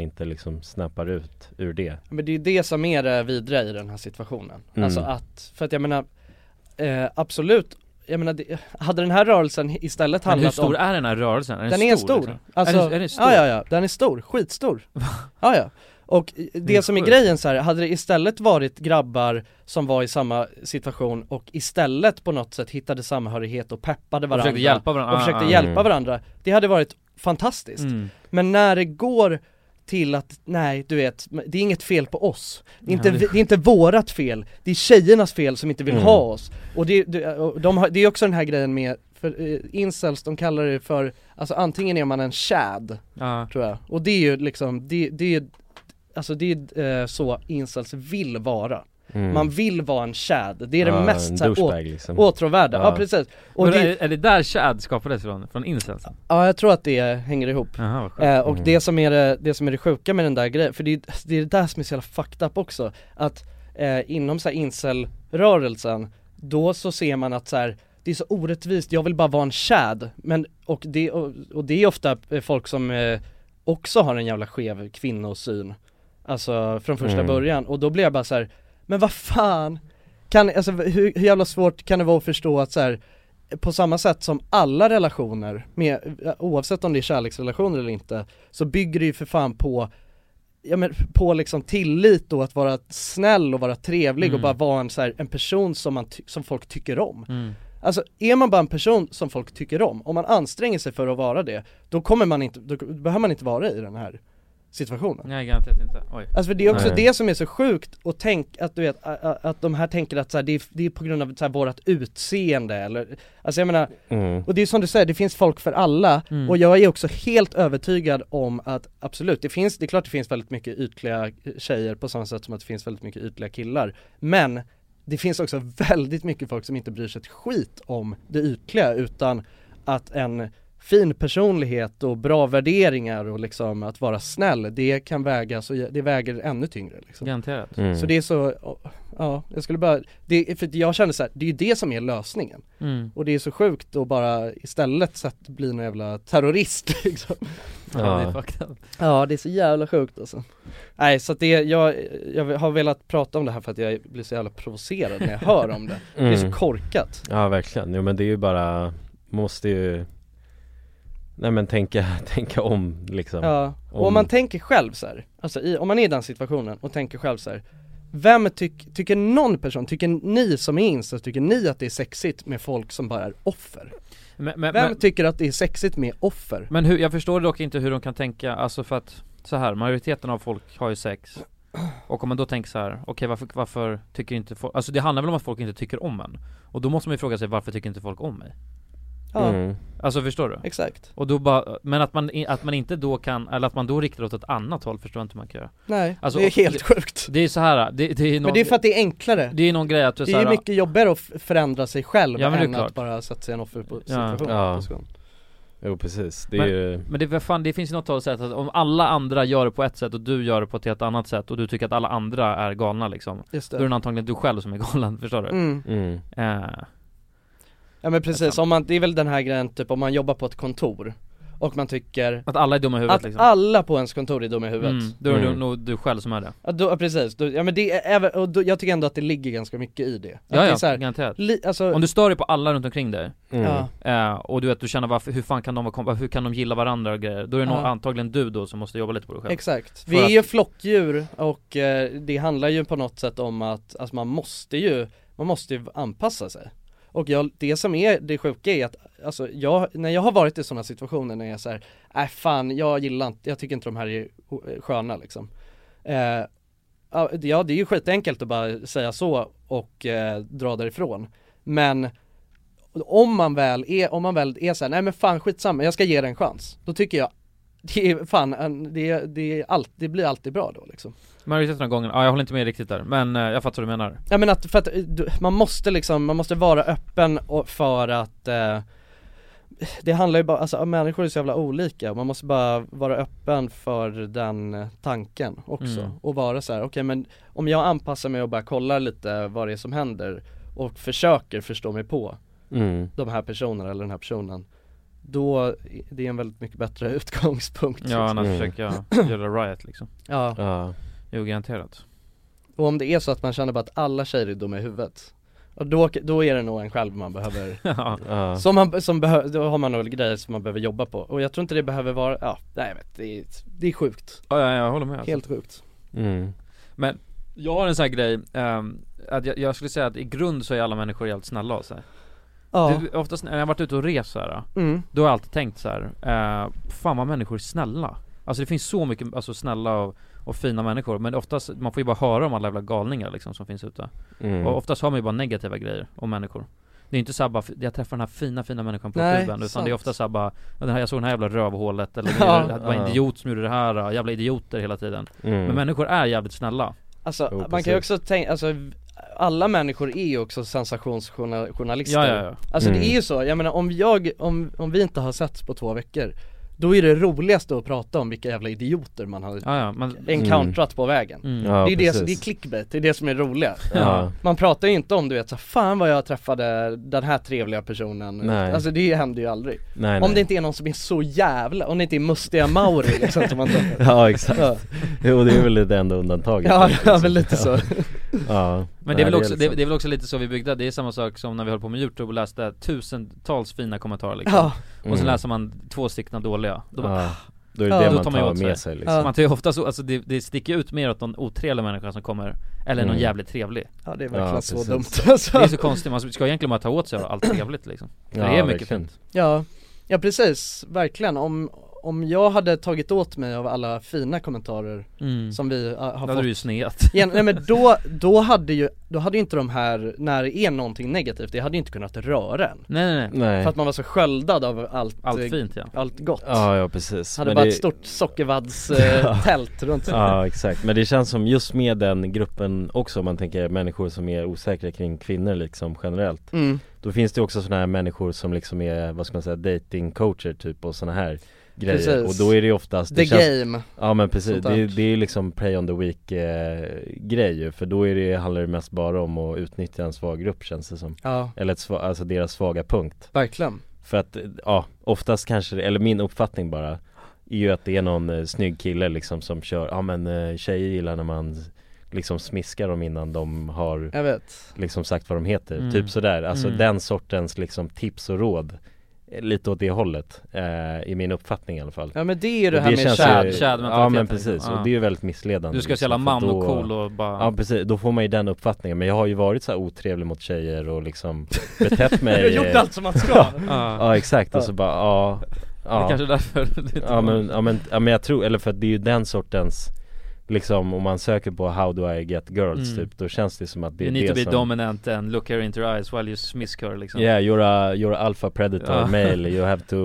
inte liksom snappar ut ur det Men det är ju det som är det vidriga i den här situationen. Mm. Alltså att, för att jag menar, eh, absolut, jag menar, det, hade den här rörelsen istället Men handlat hur stor om, är den här rörelsen? Är den den är stor, stor. liksom? Alltså, Är den- är den stor? Ja, ja, ja, den är stor, <laughs> skitstor. ja, ja. Och i- det, Det är som sjukt. är grejen så här, hade det istället varit grabbar som var i samma situation och istället på något sätt hittade samhörighet och peppade varandra försökte hjälpa varandra. och Ah, försökte ah. hjälpa Mm. varandra, det hade varit fantastiskt. Mm. Men när det går till att, nej du vet, det är inget fel på oss Det är inte, Nej. vi- det är inte vårat fel, det är tjejernas fel som inte vill Mm. ha oss Och det, det, och de har, det är också den här grejen med, för eh, incels de kallar det för, alltså antingen är man en chad tror jag Och det är ju liksom, det, det är Alltså det är eh, så incels vill vara Mm. Man vill vara en chad, det är Ja, det mest en så här, douchebag, åt, liksom. åtråvärda, ja. Ja. precis Och det... Är, är det där Chad skapades från? Från incensen? Ja jag tror att det hänger ihop. Jaha, vad sjukt. eh, och Mm. det, som är det, det som är det sjuka med den där grejen, för det är det, är det där som är så jävla fucked up också, att eh, inom så här incel-rörelsen, då så ser man att så här, det är så orättvist, jag vill bara vara en chad, men och det, och, och det är ofta eh, folk som eh, också har en jävla skev kvinnosyn Alltså från första Mm. början, och då blir jag bara så här, men vad fan kan, alltså, hur, hur jävla svårt kan det vara att förstå att så här, på samma sätt som alla relationer, med, oavsett om det är kärleksrelationer eller inte, så bygger det ju för fan på Ja men på liksom tillit och att vara snäll och vara trevlig och Mm. bara vara en, så här, en person som, man ty- som folk tycker om Mm. Alltså är man bara en person som folk tycker om, om man anstränger sig för att vara det, då kommer man inte, då behöver man inte vara i den här situationen Nej garanterat inte, oj Alltså för det är också Nej. det som är så sjukt och tänk att du vet, a- a- att de här tänker att så här, det, är, det är på grund av så här, vårat utseende eller, alltså jag menar, Mm. och det är som du säger, det finns folk för alla Mm. och jag är också helt övertygad om att absolut, det finns, det är klart det finns väldigt mycket ytliga eh, tjejer på samma sätt som att det finns väldigt mycket ytliga killar, men det finns också <laughs> väldigt mycket folk som inte bryr sig ett skit om det ytliga utan att en fin personlighet och bra värderingar och liksom att vara snäll, det kan vägas och det väger ännu tyngre liksom. Garanterat. Mm. Så det är så, ja, jag skulle bara, det, för jag känner så här, det är ju det som är lösningen. Mm. Och det är så sjukt att bara istället så att bli en jävla terrorist <laughs> liksom. Ja, det är fucked up. Ja det är så jävla sjukt alltså Nej så att det, jag, jag har velat prata om det här för att jag blir så jävla provocerad när jag hör om <laughs> det Det är så Mm. korkat Ja verkligen, jo men det är ju bara, måste ju Nej men tänka, <laughs> tänka om liksom Ja, och om man tänker själv så här, alltså i, om man är i den situationen och tänker själv så här, vem tyck, tycker någon person, tycker ni som är incels, tycker ni att det är sexigt med folk som bara är offer? Men- men- vem men- tycker att det är sexigt med offer? Men hur, jag förstår dock inte hur de kan tänka, alltså för att så här, majoriteten av folk har ju sex Och om man då tänker så här, okej varför, varför tycker inte folk, alltså det handlar väl om att folk inte tycker om en? Och då måste man ju fråga sig, varför tycker inte folk om mig? Ja. Mm. Alltså förstår du? Exakt. Och då bara, men att man, i- att man inte då kan, eller att man då riktar åt ett annat håll förstår jag inte hur man kan göra Nej, alltså, det är helt sjukt Det är så här, det, det är någon, Men det är för att det är enklare det är någon grej att du Det så är här, ju mycket jobbigare att f- förändra sig själv Ja, men det är än klart. att bara sätta sig i en Ja. offerposition Ja. Jo precis, det är men, ju men det, vad fan, det finns ju något sätt att om alla andra gör det på ett sätt och du gör det på ett helt annat sätt och du tycker att alla andra är galna liksom Just det. Då är det antagligen du själv som är galen, <laughs> förstår du? Mm. Mm. Eh, Ja men precis, om man, det är väl den här grejen typ om man jobbar på ett kontor och man tycker Att alla är dumma i huvudet, Att liksom. alla på ens kontor är dumma i huvudet mm, då är det nog du själv som är det Ja, då, ja, precis, då, ja men det är, även- och då, jag tycker ändå att det ligger ganska mycket i det Att Ja, det ja, är så här, garanterat. li, alltså, Om du stör dig på alla runt omkring dig, Mm. eh, och du vet du känner varför, hur fan kan de vara komp- hur kan de gilla varandra och grejer? Då är det nog Ja. antagligen du då som måste jobba lite på dig själv Exakt, För vi är att- ju flockdjur och eh, det handlar ju på något sätt om att, alltså man måste ju, man måste ju anpassa sig och jag, det som är det sjuka är att, alltså jag, när jag har varit i sådana situationer när jag är såhär, nej fan jag gillar inte, jag tycker inte de här är o- sköna liksom eh, ja, det- Ja det är ju skitenkelt att bara säga så och eh, dra därifrån Men om man väl är, om man väl är såhär, nej men fan skitsamma, jag ska ge det en chans Då tycker jag, det är fan, en- det, är- det, är allt, det blir alltid bra då liksom Majoriteten av gången, ja jag håller inte med riktigt där, men eh, jag fattar vad du menar Ja men att, för att eh, du- man måste liksom, man måste vara öppen och för att eh, det handlar ju bara, alltså människor är så jävla olika och man måste bara vara öppen för den tanken också Mm. och vara så här: okej men om jag anpassar mig och bara kollar lite vad det är som händer och försöker förstå mig på Mm. de här personerna eller den här personen då, är- det är en väldigt mycket bättre <laughs> utgångspunkt Ja liksom. annars försöker <clears throat> jag göra riot liksom Ja. Jo garanterat <laughs> Och om det är så att man känner bara att alla tjejer är dumma i huvudet och då, då är det nog en själv man behöver Ja. Ja. Som man, som behö- då har man nog grejer som man behöver jobba på och jag tror inte det behöver vara, ja, nej jag vet, det är, det är sjukt Ja, ja jag håller med alltså. Helt sjukt Mm. Men jag har en sån här grej, ehm, att jag, jag skulle säga att i grund så är alla människor jävligt snälla av sig Ja. det, Oftast när jag har varit ute och rest så här, Mm. då har jag alltid tänkt så här, eh, fan vad människor är snälla Alltså det finns så mycket alltså, snälla och, och fina människor, men oftast, man får ju bara höra om alla jävla galningar liksom som finns ute Mm. Och oftast har man ju bara negativa grejer om människor Det är inte såhär bara, f- jag träffar den här fina fina människan på Nej, klubben utan sant. det är ofta såhär bara "Ja, den här, Jag såg den här jävla <laughs> rövhålet eller Ja. det var en idiot som gjorde det här, äh, jävla idioter hela tiden Mm. Men människor är jävligt snälla Alltså man kan ju också tänka, alltså alla människor är ju också sensationsjournalister Ja, ja, ja. Alltså det Mm. är ju så, jag menar om jag, om, om vi inte har setts på två veckor Då är det roligaste att prata om vilka jävla idioter man har Ja, ja, man- encounterat på vägen Mm. Det Ja, är det, som- det är precis. clickbait, det är det som är roligt Ja. Man pratar ju inte om du vet så här, fan vad jag träffade den här trevliga personen Nej. Alltså det händer ju aldrig Nej, Om nej. det inte är någon som är så jävla, om det inte är mustiga Mauri liksom <laughs> som man <laughs> träffar Ja exakt, jo det är väl det enda undantaget Ja, liksom. ja, men lite så. Ja, Men det är, väl Nej, också, det, liksom- är, det är väl också lite så vi byggde, det är samma sak som när vi höll på med youtube och läste tusentals fina kommentarer liksom. Ja. Och så Mm. läser man två stycken dåliga, då, bara, Ja. ah. Då är det det man ju tar åt med sig, liksom. Ja. Man tar ju ofta så, alltså det, det sticker ut mer åt någon otrevlig människa som kommer Eller någon Mm. jävligt trevlig Ja, det är verkligen Ja, så precis. dumt alltså. Det är så konstigt, man ska egentligen bara ta åt sig av allt trevligt liksom För Ja, det är mycket verkligen. fint Ja, ja precis, verkligen. Om, om jag hade tagit åt mig av alla fina kommentarer Mm. som vi äh, har Då fått hade du <laughs> ju sneat. Gen- Nej men då, då hade ju, då hade ju inte de här, när det är någonting negativt, det hade ju inte kunnat röra en Nej, nej, nej. Nej. För att man var så sköldad av allt Allt eh, fint, ja. Allt gott Ja, ja, precis. Hade Men bara det- ett <laughs> stort sockervadds-tält runt sig Ja exakt, men det känns som just med den gruppen också om man tänker människor som är osäkra kring kvinnor liksom generellt Mm. Då finns det också sådana här människor som liksom är, vad ska man säga, datingcoacher typ och sådana här grejer Precis. Och då är det ju oftast det The game. Ja men precis, Sånt det, där. är- det är ju liksom pray on the week eh, grej ju För då är det, handlar det mest bara om att utnyttja en svag grupp känns det som Ja. Eller ett, sva- alltså deras svaga punkt Verkligen För att, eh, ja, oftast kanske, det- eller min uppfattning bara Är ju att det är någon eh, snygg kille liksom som kör, ja men eh, tjejer gillar när man liksom smiskar dem innan de har Jag vet. Liksom sagt vad de heter, Mm. typ sådär, alltså Mm. den sortens liksom tips och råd eh, Lite åt det hållet, eh, i min uppfattning i alla fall Ja, men det är ju det Och här med känns tjad- ju- tjadmentaliteten Ja men liksom. precis, Ja. och det är ju väldigt missledande Du ska se jävla för man och då- cool och bara- liksom, Ja precis, då får man ju den uppfattningen Men jag har ju varit så här otrevlig mot tjejer och liksom <laughs> betett <laughs> mig Du har gjort allt som man ska. ja. Ja. ja exakt, och Ja. så bara ja, ja. Det är kanske är därför det är ja, dåligt. men, ja, men, ja men jag tror, eller för att det är ju den sortens liksom om man söker på how do I get girls Mm. typ, då känns det som att det You är need det to be som dominant and look her into her eyes while you smisk her liksom Yeah, you're a, you're a alpha predator Ja. <laughs> male, you have to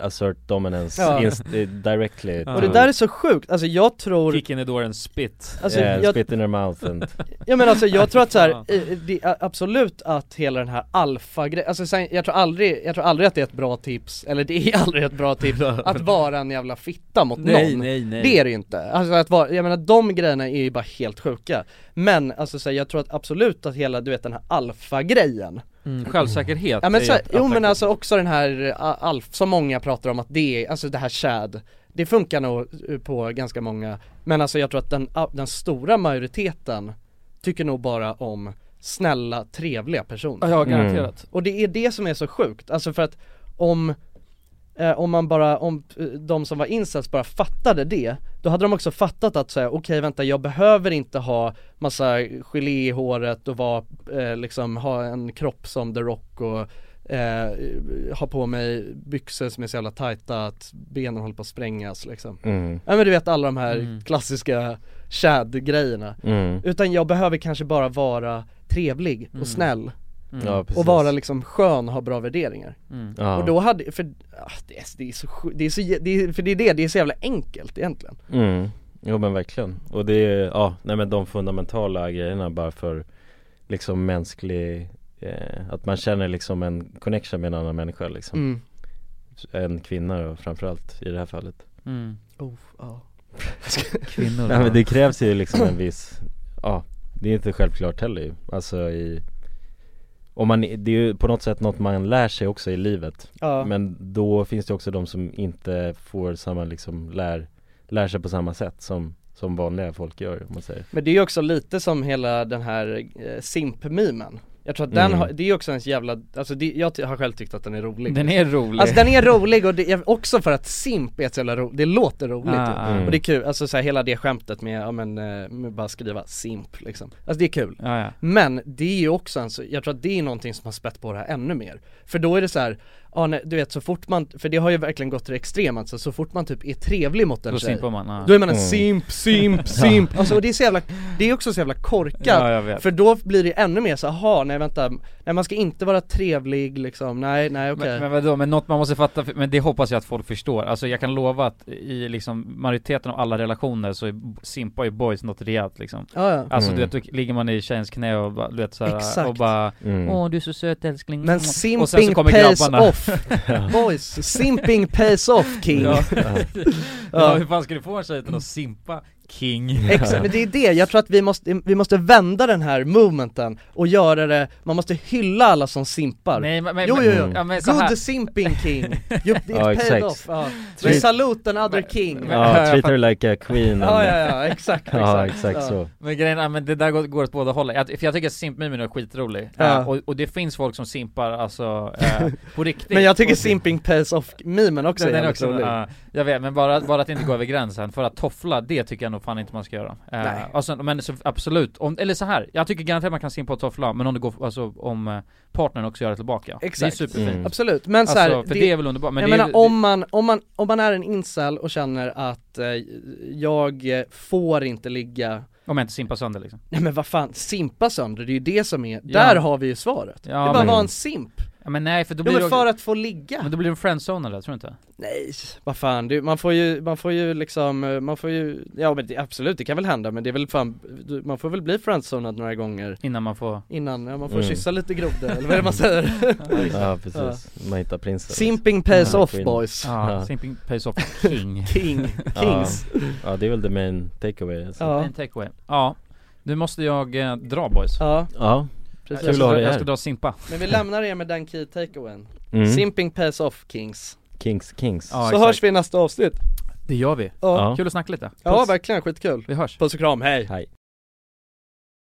assert dominance Ja. inst- eh, directly Och det to- där är så sjukt, alltså jag tror Kick in the door and spit Alltså, yeah, jag- eh, spit in her mouth and Ja men alltså jag tror att <laughs> så här, eh, det är absolut att hela den här alfa alltså sen, jag tror aldrig, jag tror aldrig att det är ett bra tips, eller det är aldrig ett <laughs> bra tips att vara en jävla fitta mot Nej, någon nej, nej. Det är det ju inte, alltså att vara, jag menar de grejerna är ju bara helt sjuka Men alltså så här, jag tror att absolut att hela, du vet den här alfa-grejen <laughs> Mm, självsäkerhet Ja men är så, ett jo men attraktivt- alltså också den här eh, alf, som många pratar om att det är, alltså det här chad Det funkar nog eh, på ganska många Men alltså jag tror att den, ah, den stora majoriteten tycker nog bara om snälla, trevliga personer Ja, ja, garanterat. Mm. Och det är det som är så sjukt, alltså för att om eh, om man bara, om eh, de som var incels bara fattade det, då hade de också fattat att säga okej vänta jag behöver inte ha massa gelé i håret och vara, eh, liksom ha en kropp som The Rock och eh, ha på mig byxor som är så jävla tajta att benen håller på att sprängas liksom. Mm. Ja men du vet alla de här Mm. klassiska Chad-grejerna. Mm. Utan jag behöver kanske bara vara trevlig och Mm. snäll. Mm. Ja, precis. och vara liksom skön och ha bra värderingar. Mm. Ja. Och då hade, för ah, det är, det är så, sj- det är så jä- det är, för det är det, det är så jävla enkelt egentligen. Mm, jo men verkligen. Och det är, ja, nej men de fundamentala grejerna bara för liksom mänsklig, eh, att man känner liksom en connection med en annan människa liksom. Mm. En kvinna då, framförallt i det här fallet. Mm. Oh, ja. Kvinnor Nej men det krävs ju liksom en viss, ja, det är inte självklart heller ju. Alltså i om man, det är ju på något sätt något man lär sig också i livet Ja. Men då finns det också de som inte får samma liksom, lär, lär sig på samma sätt som, som vanliga folk gör om man säger Men det är ju också lite som hela den här eh, simp-mimen jag tror att den Mm. har, det är ju också en jävla, alltså det, jag ty- har själv tyckt att den är rolig Den är rolig. Alltså den är rolig och det, jag- också för att simp är ett så jävla roligt, det låter roligt Ah, ju. ah. Mm. Och det är kul, alltså så här, hela det skämtet med, ja men, eh, med bara skriva simp liksom Alltså det är kul Ja, ja. Men det är ju också en, så- jag tror att det är någonting som har spett på det här ännu mer För då är det så här, ja, nej, du vet så fort man, för det har ju verkligen gått till det extrema alltså, så fort man typ är trevlig mot en Då tjej simpar man, ja. Då är man en Mm. simp, <laughs> simp, simp, alltså och det är så jävla, det är också så jävla korkat Ja, jag vet. För då blir det ännu mer så aha, nej vänta, nej man ska inte vara trevlig liksom, nej, nej okej Men, men vadå, men något man måste fatta, för- men det hoppas jag att folk förstår. Alltså jag kan lova att i liksom majoriteten av alla relationer så är, simpar ju boys något rejält liksom. Ja, ja. Alltså Mm. du vet, då ligger man i tjejens knä och bara, du vet såhär, Exakt. och bara Mm. Åh du är så söt älskling Men Och sen så simping kommer pays grabbarna. off, <laughs> boys, simping pays off king Ja. Ja. <laughs> ja, hur fan ska du få en tjej utan att simpa king? Exakt, men det är det, jag tror att vi måste, vi måste vända den här movementen och göra det, man måste hylla alla som simpar Nej, men- men- Jo men- jo jo, ja, men så här. good simping <laughs> king, you, it Ja, paid exakt. off, ja. We Treat- salute another king Ja, treat her like a queen Ja, ja, ja, exakt, <laughs> Ja, exakt. exakt så Men grejen är, men det där går, går åt båda hållen. Jag, för jag tycker att simpmimen är skitrolig. Ja. Eh, och, och det finns folk som simpar alltså, <laughs> eh, på riktigt. Men jag tycker Och- simping pays off-memen också Den är är jävligt också, rolig ja, jag vet, men bara, bara att inte gå över gränsen, för att toffla, det tycker jag nog fan inte man ska göra. Eh, Nej. alltså, men så, absolut, om, eller så här. jag tycker garanterat man kan simpa och toffla, men om det går, alltså om eh, partnern också gör det tillbaka. Exakt, Det är superfint. Mm. absolut, men så här, alltså, för det, är väl underbart, men Jag det är, menar om man, om man, om man är en incel och känner att eh, jag eh, får inte ligga om jag inte simpar sönder liksom. Nej men vad fan, simpa sönder, det är ju det som är, Ja. där har vi ju svaret. det är bara men- vara en simp. Ja, men nej, för då Jo, blir men det- för att få ligga. Men då blir det en friendzone där, tror du inte? Nej, vad fan, du, man får ju, man får ju liksom, eh, man får ju, ja men det, absolut det kan väl hända men det är väl fan, du, man får väl bli friendzonad några gånger Innan man får Innan, ja man får Mm. kyssa lite grodor eller vad är det man säger? Ja precis, man hittar prinsen Simping pays Ja, off queen. boys Ja, simping pays off <laughs> king King, kings ja. ja, det är väl the main takeaway alltså. Ja. En takeaway. Ja, nu måste jag eh, dra boys. Ja. Ja. Precis. Jag Kul att ha ska, dig jag här. ska dra simpa. Men vi lämnar er med den key takeawayen Mm. Simping pays off kings Kings, Kings Så hörs vi i nästa avsnitt Det gör vi. Ja. Kul att snacka lite. Ja verkligen, skitkul Vi hörs Puss och kram, hej! Hej